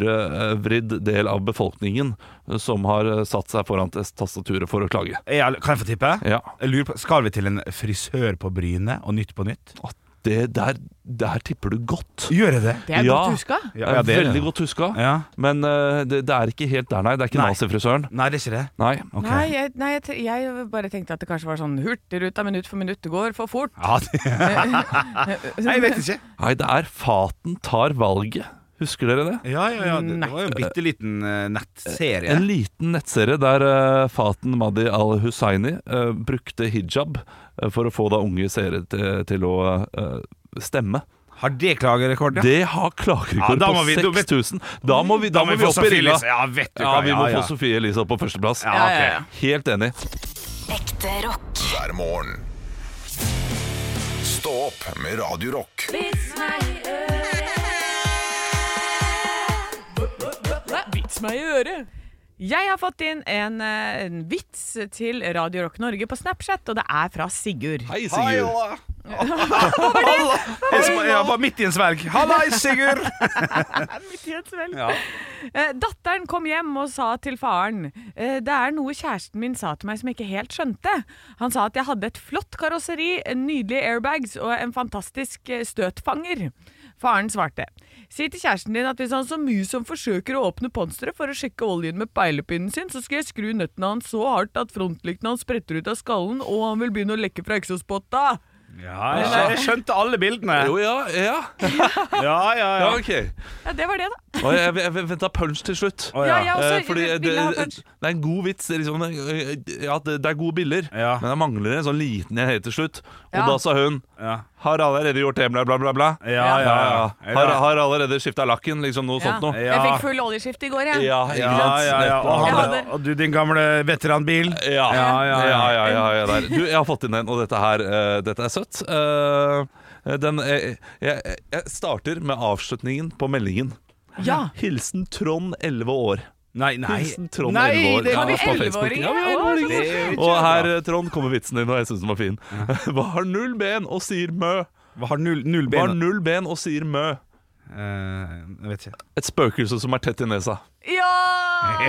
Speaker 3: høyrevridd del av befolkningen eh, som har eh, satt seg foran test- tastaturet for å klage.
Speaker 4: Jeg, kan jeg få tippe?
Speaker 3: Ja,
Speaker 4: Jeg lurer på, skal vi til en frisør på Bryne og Nytt på nytt?
Speaker 3: at det der, der tipper du godt.
Speaker 4: Gjør jeg det?
Speaker 2: Det er
Speaker 3: Ja.
Speaker 2: godt huska.
Speaker 4: Ja, ja, det er det.
Speaker 3: Veldig godt huska.
Speaker 4: Ja.
Speaker 3: Men eh, det, det er ikke helt der, nei. Det er ikke
Speaker 4: Nei.
Speaker 3: nazifrisøren.
Speaker 4: Nei, det er ikke det.
Speaker 3: Nei.
Speaker 4: Ok.
Speaker 2: Nei, jeg, nei jeg, te- jeg bare tenkte at det kanskje var sånn Hurtigruta minutt for minutt, det går for fort.
Speaker 4: Ja, det... Nei, jeg vet ikke.
Speaker 3: nei, det er Faten tar valget. Husker dere det?
Speaker 4: Ja, ja, ja. Det,
Speaker 2: Nei.
Speaker 4: det var jo en bitte liten eh, nettserie.
Speaker 3: En liten nettserie der eh, Faten Madi al-Hussaini eh, brukte hijab eh, for å få da unge seere til, til å eh, stemme.
Speaker 4: Har det klagerekord, ja?
Speaker 3: Det har klagerekord
Speaker 4: Ja, da må
Speaker 3: på
Speaker 4: vi- da vet-
Speaker 3: 6000. Da må vi, da må vi
Speaker 4: få
Speaker 3: opp i
Speaker 4: Sofie
Speaker 3: ringa.
Speaker 4: Elise. Ja, vet du
Speaker 3: Ja,
Speaker 4: hva.
Speaker 3: vi må
Speaker 4: ja.
Speaker 3: få Sofie Elise opp på førsteplass.
Speaker 4: Ja,
Speaker 2: Ja,
Speaker 4: ok.
Speaker 2: ja, ja.
Speaker 3: Helt enig.
Speaker 6: Ekte rock.
Speaker 1: hver morgen. Stå opp med Radio Rock.
Speaker 2: Vits meg i øret! Jeg har fått inn en, eh, en vits til Radio Rock Norge på Snapchat, og det er fra Sigurd.
Speaker 3: Hei, Sigurd.
Speaker 4: Jeg som- Jeg var midt i en sverg. Hallais, Sigurd! Ja.
Speaker 2: Eh, Datteren kom hjem og sa til faren eh, Det er noe kjæresten min sa til meg som jeg ikke helt skjønte. Han sa at jeg hadde et flott karosseri, nydelige airbags og en fantastisk eh, støtfanger. Faren svarte. Si til kjæresten din at hvis han så mus som forsøker å åpne ponsteret for å sjekke oljen med peilepinnen sin, så skal jeg skru nøttene hans så hardt at frontlyktene hans spretter ut av skallen og han vil begynne å lekke fra eksospotta.
Speaker 4: Ja, jeg- jeg skjønte alle bildene.
Speaker 3: Jo, ja, ja.
Speaker 4: Ja, ja,
Speaker 3: ja
Speaker 4: ja.
Speaker 3: ok.
Speaker 2: Ja, det var det, da.
Speaker 3: Og jeg, jeg, jeg venta punch til slutt.
Speaker 4: Å, ja.
Speaker 2: Ja, altså, jeg også
Speaker 3: Eh, fordi
Speaker 2: ville-
Speaker 3: det,
Speaker 2: ville ha punch.
Speaker 3: det er en god vits. det er Liksom, eh, ja, det, det er gode biller,
Speaker 4: Ja.
Speaker 3: men det mangler en sånn liten en helt til slutt. Og
Speaker 2: Ja.
Speaker 3: da sa hun
Speaker 4: Ja.
Speaker 3: Har allerede gjort det, bla, bla, bla. bla.
Speaker 4: Ja, ja, ja.
Speaker 3: Har, har allerede skifta lakken, liksom noe sånt noe.
Speaker 2: Jeg
Speaker 4: Ja.
Speaker 2: fikk full oljeskift i går, jeg.
Speaker 3: Ja, ikke
Speaker 4: Ja,
Speaker 3: sant?
Speaker 4: ja, ja. Og,
Speaker 3: Nettopp.
Speaker 2: Jeg
Speaker 4: han,
Speaker 2: hadde-
Speaker 4: og du, din gamle veteranbil.
Speaker 3: Ja, ja,
Speaker 4: Ja,
Speaker 3: ja,
Speaker 4: ja, ja.
Speaker 3: ja, ja, der. Du, jeg har fått inn en, og dette her eh, Dette er søtt. Eh, den, jeg, jeg, jeg starter med avslutningen på meldingen.
Speaker 2: Ja.
Speaker 3: Hilsen Trond, 11 år.
Speaker 4: Nei, nei.
Speaker 3: Hilsen Trond,
Speaker 4: Nei,
Speaker 3: 11 år.
Speaker 4: det-
Speaker 2: Har vi
Speaker 3: på Facebook.
Speaker 2: 11-åringer?
Speaker 3: Ja, vi har
Speaker 2: Å, så
Speaker 3: 11-åringer.
Speaker 4: koselig.
Speaker 3: Og her, eh, Trond, kommer vitsen din, og jeg syns den var fin. Hva har null ben og sier mø?
Speaker 4: eh, Har null, null
Speaker 3: Hva har
Speaker 4: ben.
Speaker 3: null ben og sier mø?
Speaker 4: Eh, jeg vet ikke.
Speaker 3: Et spøkelse som er tett i nesa.
Speaker 2: Ja!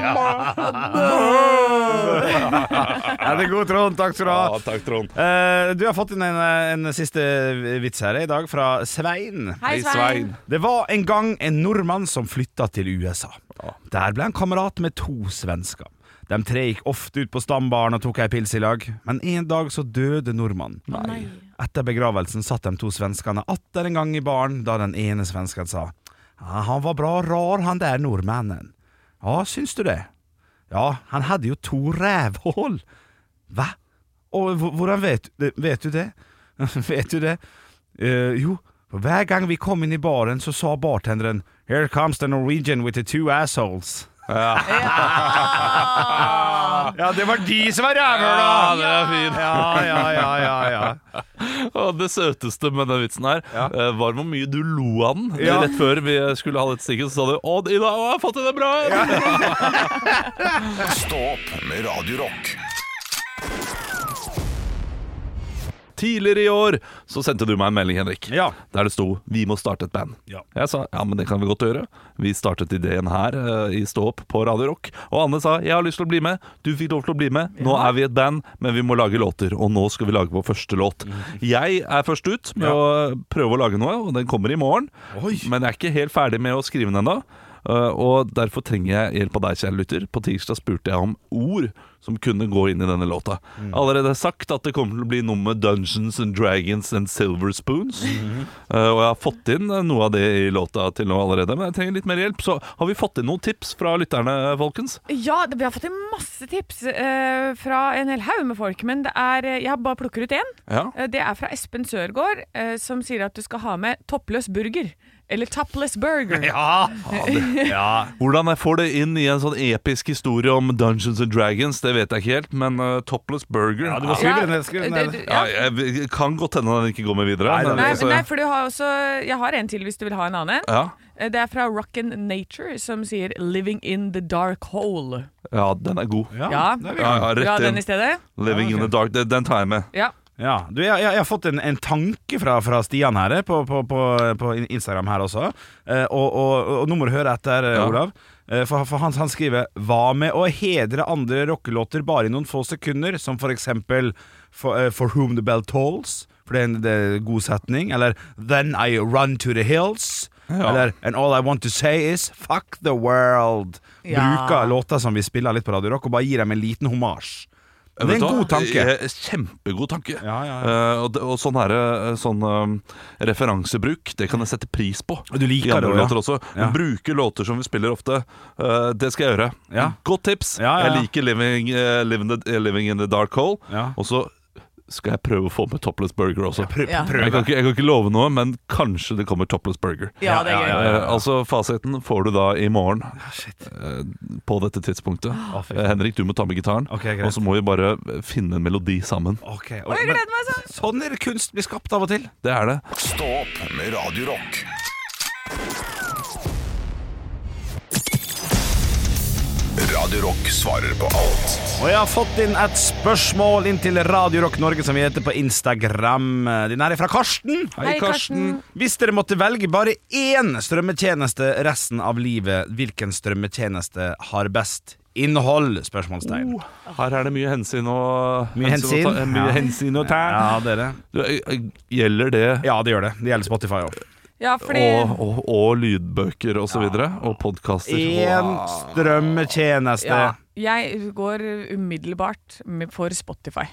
Speaker 4: Ja, det er god Trond. Takk skal du ha.
Speaker 3: Ja, takk, Trond.
Speaker 4: Eh, du har fått inn en, en siste vits her eh, i dag, fra Svein.
Speaker 2: Hei, Svein.
Speaker 4: Det var en gang en nordmann som flytta til USA. Der ble han kamerat med to svensker. De tre gikk ofte ut på stambaren og tok ei pils i lag, men en dag så døde nordmannen. Etter begravelsen satt de to svenskene atter en gang i baren, da den ene svensken sa ja, Han var bra rar, han der nordmannen. Ja, syns du det? Ja, han hadde jo to rævhull. Hva? Og hvor- hvordan vet, vet du det? vet du det? Eh, jo, for hver gang vi kom inn i baren så sa bartenderen Here comes the Norwegian with the two assholes. Ja, det var de som var rævhøla!
Speaker 3: det er fint.
Speaker 4: Ja, ja, ja, ja, ja.
Speaker 3: Og det søteste med den vitsen her eh, var hvor mye du lo av den.
Speaker 4: Ja.
Speaker 3: Rett før vi skulle ha dette stikket, så sa du Å, i dag har jeg fått det bra!
Speaker 1: Stå opp med Radio Rock.
Speaker 3: Tidligere i år så sendte du meg en melding, Henrik,
Speaker 4: Ja.
Speaker 3: der det sto 'Vi må starte et band'.
Speaker 4: Ja.
Speaker 3: Jeg sa ja, men det kan vi godt gjøre. Vi startet ideen her eh, i Stå opp på Radio Rock. Og Anne sa 'jeg har lyst til å bli med'. Du fikk lov til å bli med. Nå er vi et band, men vi må lage låter. Og nå skal vi lage vår første låt. Jeg er først ut med
Speaker 4: Mm. Ja.
Speaker 3: å prøve å lage noe, og den kommer i morgen.
Speaker 4: Oi.
Speaker 3: Men jeg er ikke helt ferdig med å skrive den ennå. eh, og derfor trenger jeg hjelp av deg, kjære lytter. På tirsdag spurte jeg om ord som kunne gå inn i denne låta. Allerede sagt at det kommer til å bli noe med Dungeons and Dragons and Silver Spoons. Eh, og jeg har fått inn eh, noe av det i låta til nå allerede, men jeg trenger litt mer hjelp. Så har vi fått inn noen tips fra lytterne, folkens?
Speaker 2: Ja, det, vi har fått inn masse tips eh, fra en hel haug med folk. Men det er, eh, jeg bare plukker ut én.
Speaker 3: Ja.
Speaker 2: Eh, det er fra Espen Sørgaard, eh, som sier at du skal ha med toppløs burger. Eller topless burger.
Speaker 4: Ja, ja.
Speaker 3: Hvordan jeg får det inn i en sånn episk historie om Dungeons and Dragons, det vet jeg ikke helt, men eh, Topless Burger
Speaker 4: Ja, du må skrive det ned. Skrive det
Speaker 2: det-
Speaker 4: ned.
Speaker 2: du-
Speaker 3: Ja,
Speaker 2: ja.
Speaker 3: jeg kan godt hende den ikke går med videre.
Speaker 4: Nei,
Speaker 3: men
Speaker 2: Nei,
Speaker 3: altså-
Speaker 2: nei, for du har også Jeg har en til hvis du vil ha en annen en.
Speaker 3: ja.
Speaker 2: Eh, Det er fra Rockin' Nature, som sier 'Living in the dark hole'.
Speaker 3: ja, den er god. Ja,
Speaker 2: Ja,
Speaker 4: det er vi.
Speaker 3: ja,
Speaker 2: Vil du ha
Speaker 3: rett
Speaker 2: den
Speaker 3: inn.
Speaker 2: i stedet?
Speaker 3: Living in the dark. Den, den tar jeg med.
Speaker 2: Ja.
Speaker 4: Ja, du, jeg, jeg, jeg har fått en, en tanke fra, fra Stian her eh, på, på, på, på Instagram her også. Eh, og, og, og nå må du høre etter, eh,
Speaker 3: Ja.
Speaker 4: Olav. Eh, for for han, han skriver Hva med å hedre andre rockelåter bare i noen få sekunder? Som for eksempel For, eh, for Whom the Bell Tolls. For det er en det er en god setning. Eller Then I Run to the Hills. Eller And All I Want to Say Is Fuck the World.
Speaker 2: Ja.
Speaker 4: Bruker låter som vi spiller litt på Radio Rock, og bare gir dem en liten homasj. Det er
Speaker 3: Vet
Speaker 4: en
Speaker 3: du hva?
Speaker 4: god tanke.
Speaker 3: Eh, Kjempegod tanke.
Speaker 4: Ja, ja,
Speaker 3: Eh, og, det- og sånn, her, eh, sånn eh, referansebruk, det kan jeg sette pris på.
Speaker 4: Og du liker
Speaker 3: I andre
Speaker 4: det
Speaker 3: låter
Speaker 4: også, ja.
Speaker 3: også.
Speaker 4: Ja.
Speaker 3: Bruke låter som vi spiller ofte. eh, det skal jeg gjøre.
Speaker 4: Ja.
Speaker 3: Godt tips.
Speaker 4: Ja, ja, ja.
Speaker 3: Jeg liker living, eh, living, the, eh, living in the Dark Hole.
Speaker 4: Ja.
Speaker 3: Og så skal jeg prøve å få med topless burger også. Jeg,
Speaker 2: Ja.
Speaker 3: kan ikke, jeg kan ikke love noe, men kanskje det kommer topless burger.
Speaker 2: Ja, det er gøy.
Speaker 3: Eh, altså Fasiten får du da i morgen, eh, på dette tidspunktet.
Speaker 4: fy
Speaker 3: Eh, Henrik, du må ta med gitaren,
Speaker 4: Ok, greit.
Speaker 3: og så må vi bare finne en melodi sammen.
Speaker 4: Ok, og-
Speaker 2: Å, jeg gleder meg sånn!
Speaker 4: Sånn er det kunst blir skapt av og til.
Speaker 3: Det er det.
Speaker 1: Stå opp med Radio Rock. Radio Rock svarer på alt
Speaker 4: Og jeg har fått inn et spørsmål inn til Radio Rock Norge, som vi heter på Instagram. Den her er fra Karsten.
Speaker 2: Hei, Karsten.
Speaker 4: Hvis dere måtte velge bare én strømmetjeneste resten av livet, hvilken strømmetjeneste har best innhold? Spørsmålstegn.
Speaker 2: Oh.
Speaker 3: Her er det mye hensyn og
Speaker 4: Mye hensyn.
Speaker 3: og ta, eh, mye
Speaker 4: Ja.
Speaker 3: hensyn og tær.
Speaker 4: Ja, det er det.
Speaker 3: Du, eh, eh, Gjelder det
Speaker 4: Ja, det gjør det. Det gjelder Spotify òg.
Speaker 2: Ja, fordi
Speaker 3: og, og, og lydbøker og så videre, og podkaster.
Speaker 4: Én strømmetjeneste.
Speaker 2: ja, Jeg går umiddelbart med- for Spotify.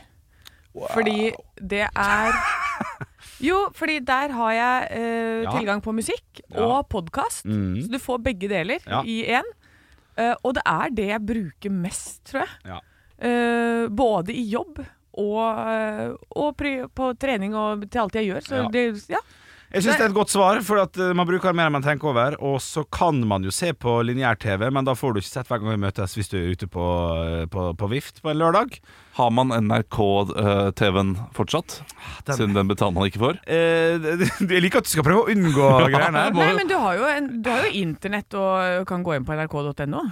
Speaker 2: Fordi det er Jo, fordi der har jeg eh,
Speaker 4: Ja.
Speaker 2: tilgang på musikk
Speaker 4: Ja. Mhm.
Speaker 2: og podkast. Så du får begge deler
Speaker 4: Ja.
Speaker 2: i én. Eh, og det er det jeg bruker mest, tror jeg.
Speaker 4: Ja.
Speaker 2: Eh, både i jobb og, eh, og pri på trening og til alt jeg gjør. Så
Speaker 4: Ja.
Speaker 2: det, ja.
Speaker 4: Jeg syns det er et godt svar, for at eh, man bruker det mer enn man tenker over. Og så kan man jo se på lineær-TV, men da får du ikke sett hver gang vi møtes hvis du er ute på, eh, på, på Vift på en lørdag.
Speaker 3: Har man NRK-TV-en fortsatt?
Speaker 4: den-
Speaker 3: Siden den betaler man ikke for?
Speaker 4: Eh, jeg liker at du skal prøve å unngå greiene her.
Speaker 3: må-
Speaker 2: Nei, men du har jo, en, du har jo internett og kan gå inn på nrk.no.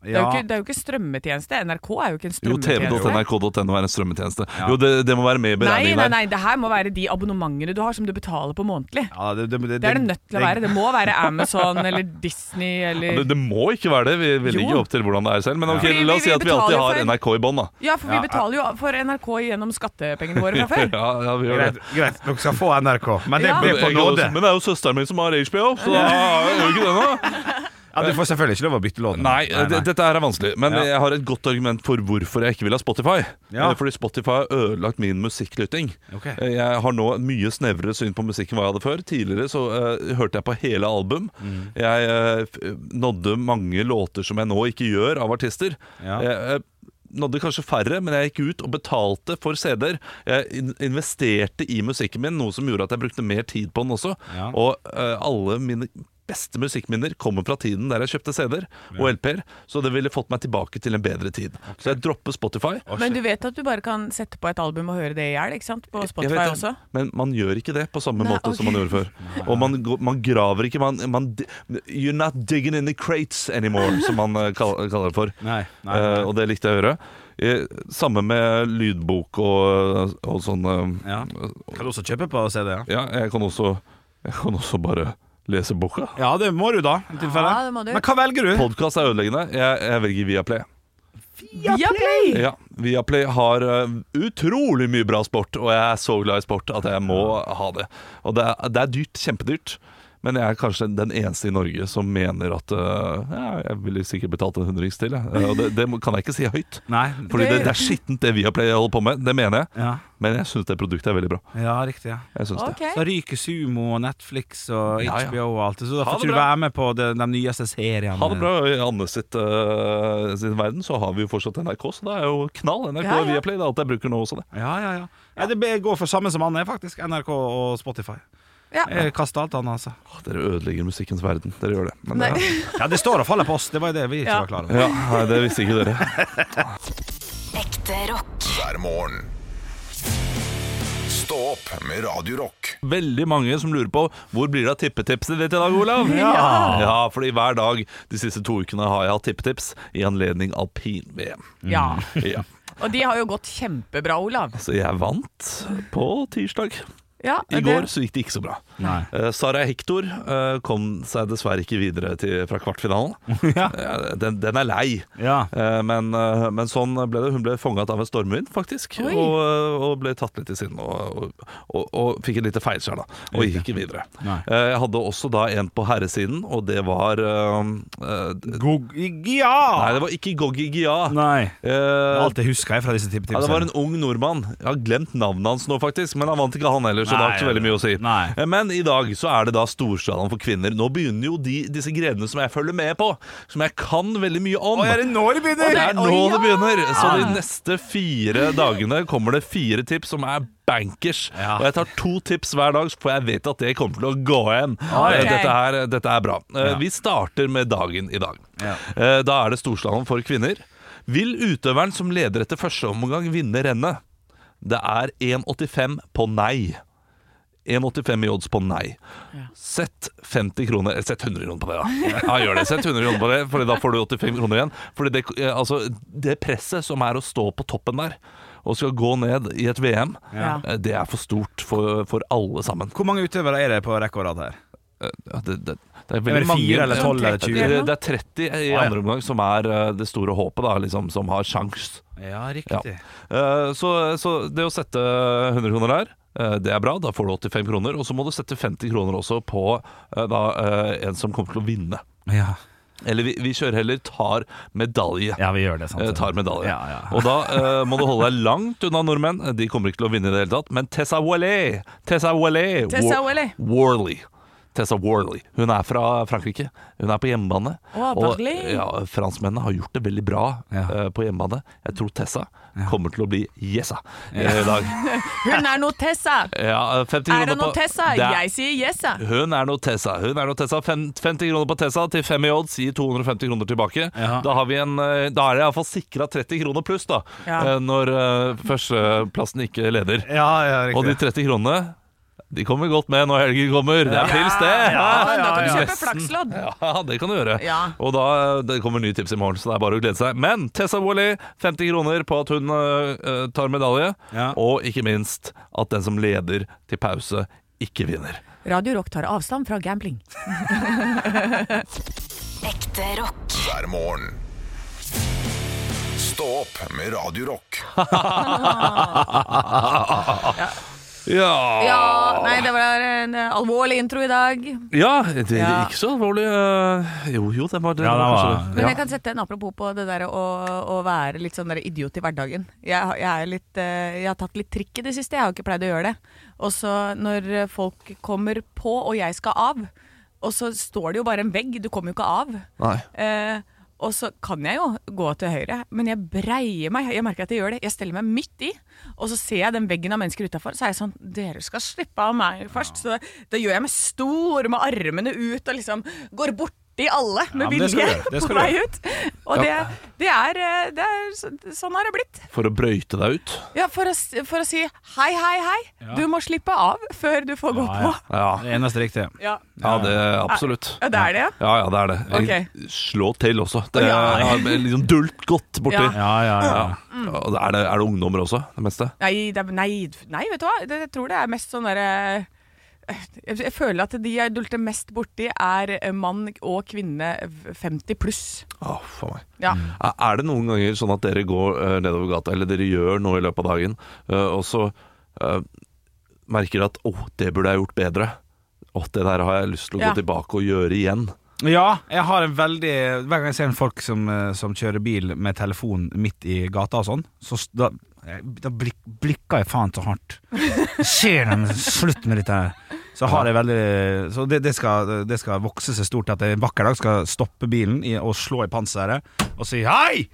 Speaker 2: Det, er jo
Speaker 4: Ja.
Speaker 2: ikke- det er jo ikke strømmetjeneste. NRK er jo ikke en
Speaker 3: Jo,
Speaker 2: strømmetjeneste.
Speaker 3: tv.nrk.no er en strømmetjeneste. Jo, det, det må være med i
Speaker 2: Nei,
Speaker 3: beregningen
Speaker 2: nei,
Speaker 3: der.
Speaker 2: nei, det her må være de abonnementene du har som du betaler på månedlig.
Speaker 4: Ja, det,
Speaker 2: Det er det nødt til å være. Det må være Amazon eller Disney
Speaker 3: Det,
Speaker 2: eller
Speaker 3: det må ikke være det. Vi, vi
Speaker 2: Jo.
Speaker 3: ligger opp til hvordan det er selv. Men ok,
Speaker 2: Fordi vi-
Speaker 3: la oss si
Speaker 2: vi
Speaker 3: at Eh, vi alltid
Speaker 2: betaler
Speaker 3: har
Speaker 2: for-
Speaker 3: NRK i bånn, da.
Speaker 2: Ja, for vi betaler jo for NRK gjennom skattepengene våre fra
Speaker 3: Ja,
Speaker 2: før.
Speaker 3: ja, vi gjør det.
Speaker 4: Greit, greit, dere skal få NRK, men det
Speaker 2: Ja.
Speaker 4: blir på
Speaker 3: Jeg-
Speaker 4: nåde.
Speaker 3: Men det er jo søsteren min som har HBO, så da gjør vi ikke det nå.
Speaker 4: Ja, du får selvfølgelig ikke lov å bytte lån.
Speaker 3: Nei, det- dette her er vanskelig. Men
Speaker 4: Ja.
Speaker 3: jeg har et godt argument for hvorfor jeg ikke vil ha Spotify.
Speaker 4: Ja.
Speaker 3: Eh, Fordi Spotify har ødelagt min musikklytting.
Speaker 4: Ok.
Speaker 3: Eh, Jeg har nå et mye snevrere syn på musikken enn hva jeg hadde før. Tidligere så eh, hørte jeg på hele album.
Speaker 4: Mm.
Speaker 3: Jeg eh, f- nådde mange låter som jeg nå ikke gjør av artister.
Speaker 4: Ja.
Speaker 3: Jeg, eh, nådde kanskje færre, men jeg gikk ut og betalte for CD-er. Jeg in investerte i musikken min, noe som gjorde at jeg brukte mer tid på den også.
Speaker 4: Ja.
Speaker 3: Og eh, alle mine beste musikkminner kommer fra tiden der jeg kjøpte CD-er og LP-er, så det ville fått meg tilbake til en bedre tid. Så jeg dropper Spotify.
Speaker 2: Men du vet at du bare kan sette på et album og høre det i hjel, ikke sant? På
Speaker 3: Jeg
Speaker 2: Spotify
Speaker 3: vet det,
Speaker 2: også.
Speaker 3: Men man gjør ikke det på samme
Speaker 2: Nei,
Speaker 3: måte
Speaker 2: ok.
Speaker 3: som man gjorde før. Og man, går- man graver ikke man, man, di- You're not digging in the crates anymore, som man eh, kall- kaller det for.
Speaker 4: Nei, nei,
Speaker 3: Eh,
Speaker 4: nei.
Speaker 3: og det likte jeg å høre. Eh, Samme med lydbok og, og sånn eh,
Speaker 4: Ja. Kan du også kjøpe på CD? Ja,
Speaker 3: Ja, jeg kan også, jeg kan også bare lese boka.
Speaker 4: ja det må du da. i tilfelle.
Speaker 2: Ja, det må du.
Speaker 4: Men hva velger du?
Speaker 3: Podkast er ødeleggende. Jeg, jeg velger Viaplay.
Speaker 2: Ja, play!
Speaker 3: Ja, Viaplay har eh, utrolig mye bra sport, og jeg er så glad i sport at jeg må ha det. Og det er, det er dyrt, kjempedyrt. Men jeg er kanskje den eneste i Norge som mener at eh, ja, Jeg ville sikkert betalt en hundrings til. jeg. Eh, Og det, det må- kan jeg ikke si høyt.
Speaker 4: Nei.
Speaker 3: Fordi det, det er skittent, det Viaplay holder på med. Det mener jeg.
Speaker 4: Ja,
Speaker 3: Men jeg syns det produktet er veldig bra.
Speaker 4: ja riktig. ja
Speaker 3: Jeg synes
Speaker 2: Ok.
Speaker 3: det.
Speaker 4: Så ryker Sumo og Netflix og
Speaker 3: Ja, ja.
Speaker 4: HBO og alt det, så da
Speaker 3: Ha
Speaker 4: får
Speaker 3: det
Speaker 4: ikke du
Speaker 3: bra.
Speaker 4: være med på de, de nyeste seriene.
Speaker 3: Ha det bra. I Anne sitt, eh, sin verden så har vi jo fortsatt NRK, så det er jo knall. NRK
Speaker 2: Ja, ja.
Speaker 3: og Viaplay. Det er alt jeg bruker nå også, det.
Speaker 4: Ja, ja, ja. Nei, det be- går for samme som Anne, faktisk. NRK og Spotify.
Speaker 2: Ja.
Speaker 4: Jeg kaster alt annet, altså.
Speaker 3: Åh, Dere ødelegger musikkens verden. Dere gjør det. Men
Speaker 2: Nei.
Speaker 3: det
Speaker 4: Ja, det står og faller på oss. Det var jo det vi ikke
Speaker 2: Ja.
Speaker 4: var klar over.
Speaker 3: ja, nei, det visste ikke dere.
Speaker 6: Ekte rock.
Speaker 1: hver morgen. Stå opp med Radio Rock.
Speaker 3: Veldig mange som lurer på hvor blir det av tippetipset ditt i dag, Olav? Ja. ja, fordi hver dag de siste to ukene har jeg hatt tippetips i anledning alpin-VM.
Speaker 2: Ja.
Speaker 3: Ja.
Speaker 2: Og de har jo gått kjempebra, Olav.
Speaker 3: Så jeg vant på tirsdag.
Speaker 2: Ja,
Speaker 3: I
Speaker 2: det-
Speaker 3: går så gikk det ikke så bra. Eh, Sara Hector eh, kom seg dessverre ikke videre til, fra kvartfinalen. Eh, den, den er lei.
Speaker 4: Ja.
Speaker 3: Eh, Men, eh, men sånn ble det. Hun ble fanget av en stormvind, faktisk. Og,
Speaker 2: Oi.
Speaker 3: eh, og ble tatt litt i siden og, og, og, og fikk et lite feilskjær, da. Og gikk ikke videre.
Speaker 4: Nei.
Speaker 3: Eh, Jeg hadde også da en på herresiden, og det var eh, eh, d-
Speaker 4: Gog...
Speaker 3: Nei,
Speaker 4: Ja!
Speaker 3: det var ikke Goggi Gia.
Speaker 4: Ah. Nei.
Speaker 3: Eh,
Speaker 4: Alt det husker jeg fra disse
Speaker 3: ja, det var
Speaker 4: tippetipsene.
Speaker 3: en ung nordmann. Jeg har glemt navnet hans nå, faktisk. Men han vant ikke, han heller, så det har ikke så veldig mye å si.
Speaker 4: Nei.
Speaker 3: Eh, Men i dag så er det da Storstadion for kvinner. Nå begynner jo de, disse grenene som jeg følger med på, som jeg kan veldig mye om.
Speaker 4: nå det begynner?
Speaker 3: Det er nå det begynner! Så de neste fire dagene kommer det fire tips som er bankers.
Speaker 4: Ja.
Speaker 3: Og jeg tar to tips hver dag, for jeg vet at det kommer til å gå igjen.
Speaker 4: Oi.
Speaker 3: Eh, Dette, her, dette er bra. Eh,
Speaker 4: Ja.
Speaker 3: Vi starter med dagen i dag.
Speaker 4: Ja.
Speaker 3: Eh, Da er det Storslalåm for kvinner. Vil utøveren som leder etter første omgang vinne rennet? Det er 1,85 på nei. 1,85 i odds på nei. Sett 50 kroner eh, Sett 100 kroner på det, da. Ja, gjør det. Sett 100 kroner på det, Fordi da får du 85 kroner igjen. Fordi det, eh, altså, det presset som er å stå på toppen der og skal gå ned i et VM,
Speaker 2: Ja.
Speaker 3: eh, det er for stort for, for alle sammen.
Speaker 4: Hvor mange utøvere er det på rekke og rad her?
Speaker 3: Eh, ja, Det, det, det er
Speaker 4: Er
Speaker 3: veldig
Speaker 4: det
Speaker 3: mange
Speaker 4: fire eller tolv eller
Speaker 3: Det,
Speaker 4: 20?
Speaker 3: det er 30 i
Speaker 4: ja.
Speaker 3: andre omgang som er eh, det store håpet, da, liksom, som har sjans.
Speaker 4: Ja,
Speaker 3: Ja. Eh, Så, så det å sette 100 kroner der, eh, det er bra. Da får du 85 kroner. Og så må du sette 50 kroner også på eh, da, eh, en som kommer til å vinne.
Speaker 4: Ja.
Speaker 3: Eller vi, vi kjører heller tar medalje.
Speaker 4: Ja, vi gjør det, sant?
Speaker 3: Eh, Tar medalje.
Speaker 4: Ja, ja.
Speaker 3: Og da eh, må du holde deg langt unna nordmenn. De kommer ikke til å vinne i det hele tatt. Men Tessa Wallet Tessa Wallet
Speaker 2: Tessa
Speaker 3: Wa-
Speaker 2: Wallet.
Speaker 3: Worley. Tessa Worley. Hun er fra Frankrike. Hun er på hjemmebane.
Speaker 2: Å,
Speaker 3: og
Speaker 2: Berlin.
Speaker 3: ja, franskmennene har gjort det veldig bra
Speaker 4: Ja.
Speaker 3: eh, på hjemmebane. Jeg tror Tessa kommer til å bli Jessa i dag.
Speaker 2: Hun er noe Tessa!
Speaker 3: Ja, 50
Speaker 2: Er
Speaker 3: kroner
Speaker 2: det noe
Speaker 3: på-
Speaker 2: Tessa?
Speaker 3: Det er-
Speaker 2: Jeg sier Jessa.
Speaker 3: hun er nå Tessa. Hun er nå Tessa. Fem- 50 kroner på Tessa til 5 i odds gir 250 kroner tilbake.
Speaker 4: Ja.
Speaker 3: Da har vi en, eh, da er det iallfall sikra 30 kroner pluss, da.
Speaker 2: Ja.
Speaker 3: eh, Når eh, førsteplassen ikke leder.
Speaker 4: Ja, ja,
Speaker 3: Og de 30 kronene de kommer godt med når helgen kommer. Det er pils, det!
Speaker 2: Ja, da kan du
Speaker 3: ja.
Speaker 2: kjøpe flakslodd.
Speaker 3: Ja, det kan du gjøre.
Speaker 2: Ja.
Speaker 3: Og da eh, det kommer nye tips i morgen, så det er bare å glede seg. Men Tessa Wally, 50 kroner på at hun eh, tar medalje.
Speaker 4: Ja.
Speaker 3: Og ikke minst at den som leder til pause, ikke vinner.
Speaker 2: Radio Rock tar avstand fra gambling.
Speaker 6: Ekte rock.
Speaker 1: hver morgen. Stå opp med Radio Rock.
Speaker 3: Ja, Ah.
Speaker 2: Ja, nei, det var en eh, alvorlig intro i dag. Men
Speaker 3: det, det
Speaker 2: Ja.
Speaker 3: gikk så alvorlig. eh, Jo, jo, den var det.
Speaker 4: Ja, den var-
Speaker 3: det.
Speaker 2: jeg kan sette en apropos på det der å, å være litt sånn der idiot i hverdagen. Jeg, har- jeg, er litt, eh, jeg har tatt litt trikk i det siste, jeg har jo ikke pleid å gjøre det. Og så når eh, folk kommer på og jeg skal av, og så står det jo bare en vegg, du kommer jo ikke av.
Speaker 3: Nei.
Speaker 2: Eh, og så kan jeg jo gå til høyre, men jeg breier meg. Jeg merker at jeg gjør det. Jeg steller meg midt i, og så ser jeg den veggen av mennesker utafor. Så er jeg sånn Dere skal slippe av meg først. Så da gjør jeg meg stor med armene ut og liksom går borti alle med
Speaker 4: men det
Speaker 2: vilje
Speaker 4: skal du gjøre. Det
Speaker 2: på
Speaker 4: skal du
Speaker 2: vei
Speaker 4: gjøre.
Speaker 2: ut. Og det, det er, eh, det er så- Sånn har det blitt.
Speaker 3: For å brøyte deg ut.
Speaker 2: Ja, for å, s- for å si hei, hei, hei. Du må slippe av før du får gå
Speaker 4: Ja, ja.
Speaker 2: på.
Speaker 3: Ja,
Speaker 4: Det eneste riktige.
Speaker 2: Ja.
Speaker 3: ja det absolutt.
Speaker 2: ja, det er det, ja.
Speaker 3: Ja, ja, det er det. Jeg- Slå til også. Det
Speaker 2: Ja.
Speaker 3: ja, men liksom dult godt borti.
Speaker 2: Ja. mm.
Speaker 3: Ja.
Speaker 4: Ja, ja, ja.
Speaker 3: Og Er, det, er det ungdommer også, det meste?
Speaker 2: Nei, det er, nei, nei, vet du hva? Det, jeg tror det er mest sånn derre eh, jeg, jeg føler at de jeg dulter mest borti, er eh, mann og kvinne v- 50 pluss.
Speaker 3: Å, for meg.
Speaker 2: Ja.
Speaker 3: Er er det noen ganger sånn at dere går eh, nedover gata, eller dere gjør noe i løpet av dagen, eh, og så eh, merker dere at 'Å, det burde jeg gjort bedre'. Å, det der har jeg lyst til å
Speaker 2: Ja.
Speaker 3: gå tilbake og gjøre igjen.
Speaker 4: Ja, jeg har en veldig Hver gang jeg ser en folk som, eh, som kjører bil med telefon midt i gata og sånn, så s- da, jeg- da blik, blikker jeg faen så hardt. Ser dem, slutt med dette her. Så har jeg veldig Så det, det, skal, det skal vokse seg stort at jeg en vakker dag skal stoppe bilen i, og slå i panseret og si hei!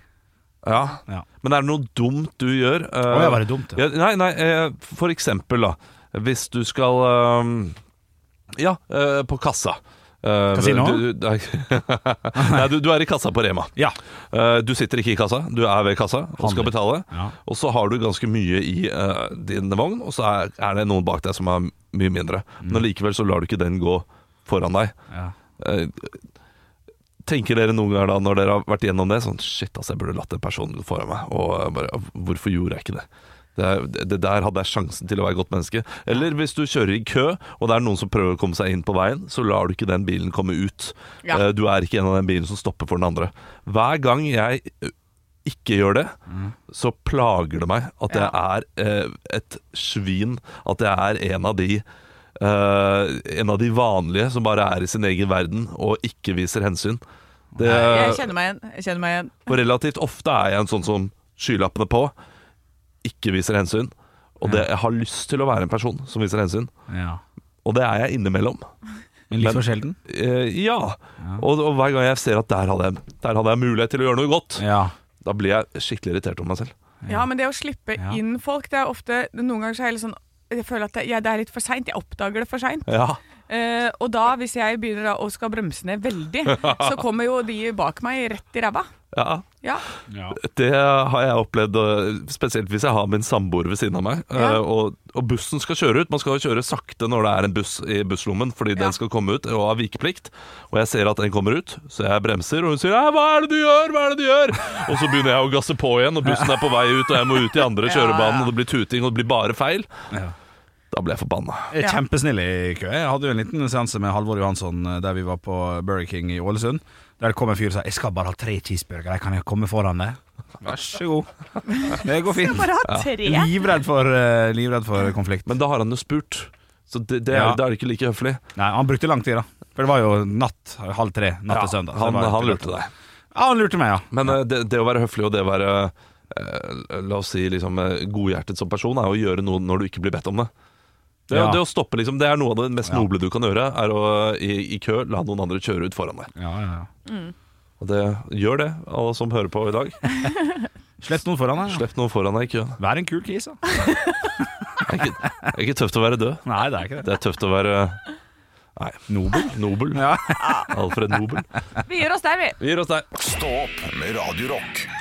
Speaker 3: Ja.
Speaker 4: Ja.
Speaker 3: Men er det noe dumt du gjør? eh,
Speaker 4: Å, ja, var det dumt,
Speaker 3: ja,
Speaker 4: ja.
Speaker 3: Nei, nei, eh, for eksempel da Hvis du skal eh, Ja, eh, på kassa Eh,
Speaker 4: Kasino?
Speaker 3: Du, du, nei, Nei, du, du er i kassa på Rema
Speaker 4: Ja.
Speaker 3: Eh, Du sitter ikke i kassa, du er ved kassa og skal
Speaker 4: Handler.
Speaker 3: betale.
Speaker 4: Ja.
Speaker 3: Og så har du ganske mye i eh, din vogn, og så er, er det noen bak deg som har mye mindre. Men allikevel så lar du ikke den gå foran deg.
Speaker 4: Mm. Ja.
Speaker 3: Eh, tenker dere noen ganger da, når dere har vært gjennom det, sånn shit, altså, jeg burde latt den personen gå foran meg, og eh, bare hvorfor gjorde jeg ikke det? Det, er- det der hadde jeg sjansen til å være et godt menneske. Eller hvis du kjører i kø, og det er noen som prøver å komme seg inn på veien, så lar du ikke den bilen komme ut.
Speaker 2: Ja.
Speaker 3: Eh, Du er ikke en av den bilen som stopper for den andre. Hver gang jeg eh, ikke gjør det, så plager det meg at jeg er eh, et svin. At jeg er en av de eh, En av de vanlige som bare er i sin egen verden og ikke viser hensyn. Det,
Speaker 2: Jeg kjenner meg igjen. Jeg kjenner meg igjen.
Speaker 3: og relativt ofte er jeg en sånn som skylappene på, ikke viser hensyn. Og det, jeg har lyst til å være en person som viser hensyn,
Speaker 4: Ja.
Speaker 3: og det er jeg innimellom.
Speaker 4: Men litt
Speaker 3: Men-
Speaker 4: for sjelden.
Speaker 3: Eh, ja. Og, og hver gang jeg ser at der hadde, jeg, der hadde jeg mulighet til å gjøre noe godt,
Speaker 4: Ja.
Speaker 3: da blir jeg skikkelig irritert over meg selv.
Speaker 2: Ja, men det å slippe
Speaker 4: Ja.
Speaker 2: inn folk, det er ofte Noen ganger så er jeg litt sånn jeg føler at det, ja, det er litt for seint. Jeg oppdager det for seint.
Speaker 3: Ja.
Speaker 2: Eh, og da, hvis jeg begynner da å skal bremse ned veldig, så kommer jo de bak meg rett i ræva.
Speaker 3: ja.
Speaker 2: Ja.
Speaker 3: Det har jeg opplevd, og spesielt hvis jeg har min samboer ved siden av meg.
Speaker 2: Ja.
Speaker 3: eh, Og, og bussen skal kjøre ut. Man skal jo kjøre sakte når det er en buss i busslommen, fordi
Speaker 2: Ja.
Speaker 3: den skal komme ut og har vikeplikt. Og jeg ser at den kommer ut, så jeg bremser, og hun sier «Nei, 'hva er det du gjør', hva er det du gjør? Og så begynner jeg å gasse på igjen, og bussen er på vei ut, og jeg må ut i andre kjørebanen, og det blir tuting, og det blir bare feil.
Speaker 4: Ja.
Speaker 3: Da blir jeg forbanna.
Speaker 4: Jeg er
Speaker 2: Ja.
Speaker 4: kjempesnill i kø. Jeg hadde jo en liten seanse med Halvor Johansson eh, der vi var på Burger King i Ålesund. Der det kom en fyr og sa 'Jeg skal bare ha tre cheeseburgere, kan jeg komme foran deg?' Vær så god. Det går fint.
Speaker 2: Bare ha tre.
Speaker 4: Livredd for, eh, livredd for konflikt.
Speaker 3: Men da har han jo spurt, så det, det, er-
Speaker 4: Ja.
Speaker 3: da er det ikke like høflig.
Speaker 4: Nei, han brukte lang tid, da. For det var jo natt. Halv tre. Natt til søndag. så
Speaker 3: han,
Speaker 4: det var-
Speaker 3: han lurte deg.
Speaker 4: Ja, han lurte meg, ja.
Speaker 3: Men eh, det, det å være høflig og det å være eh, La oss si liksom eh, godhjertet som person er å gjøre noe når du ikke blir bedt om det. Det,
Speaker 4: Ja.
Speaker 3: det å stoppe liksom, det er noe av det mest
Speaker 4: Ja.
Speaker 3: noble du kan gjøre, er å eh, i, i kø la noen andre kjøre ut foran deg.
Speaker 4: ja, ja, ja.
Speaker 3: Og det gjør det, alle som hører på i dag.
Speaker 4: Slipp noen foran deg. Ja.
Speaker 3: Slipp noen foran deg i køen.
Speaker 4: Vær en kul kis, da.
Speaker 3: Det er ikke, det er ikke tøft å være død.
Speaker 4: Nei, det er ikke det.
Speaker 3: Det er tøft å være eh, Nei. Nobel. Nobel.
Speaker 4: Ja.
Speaker 3: Alfred Nobel.
Speaker 2: Vi gir oss der, vi.
Speaker 3: Vi gir oss der.
Speaker 1: Stå opp med Radio Rock.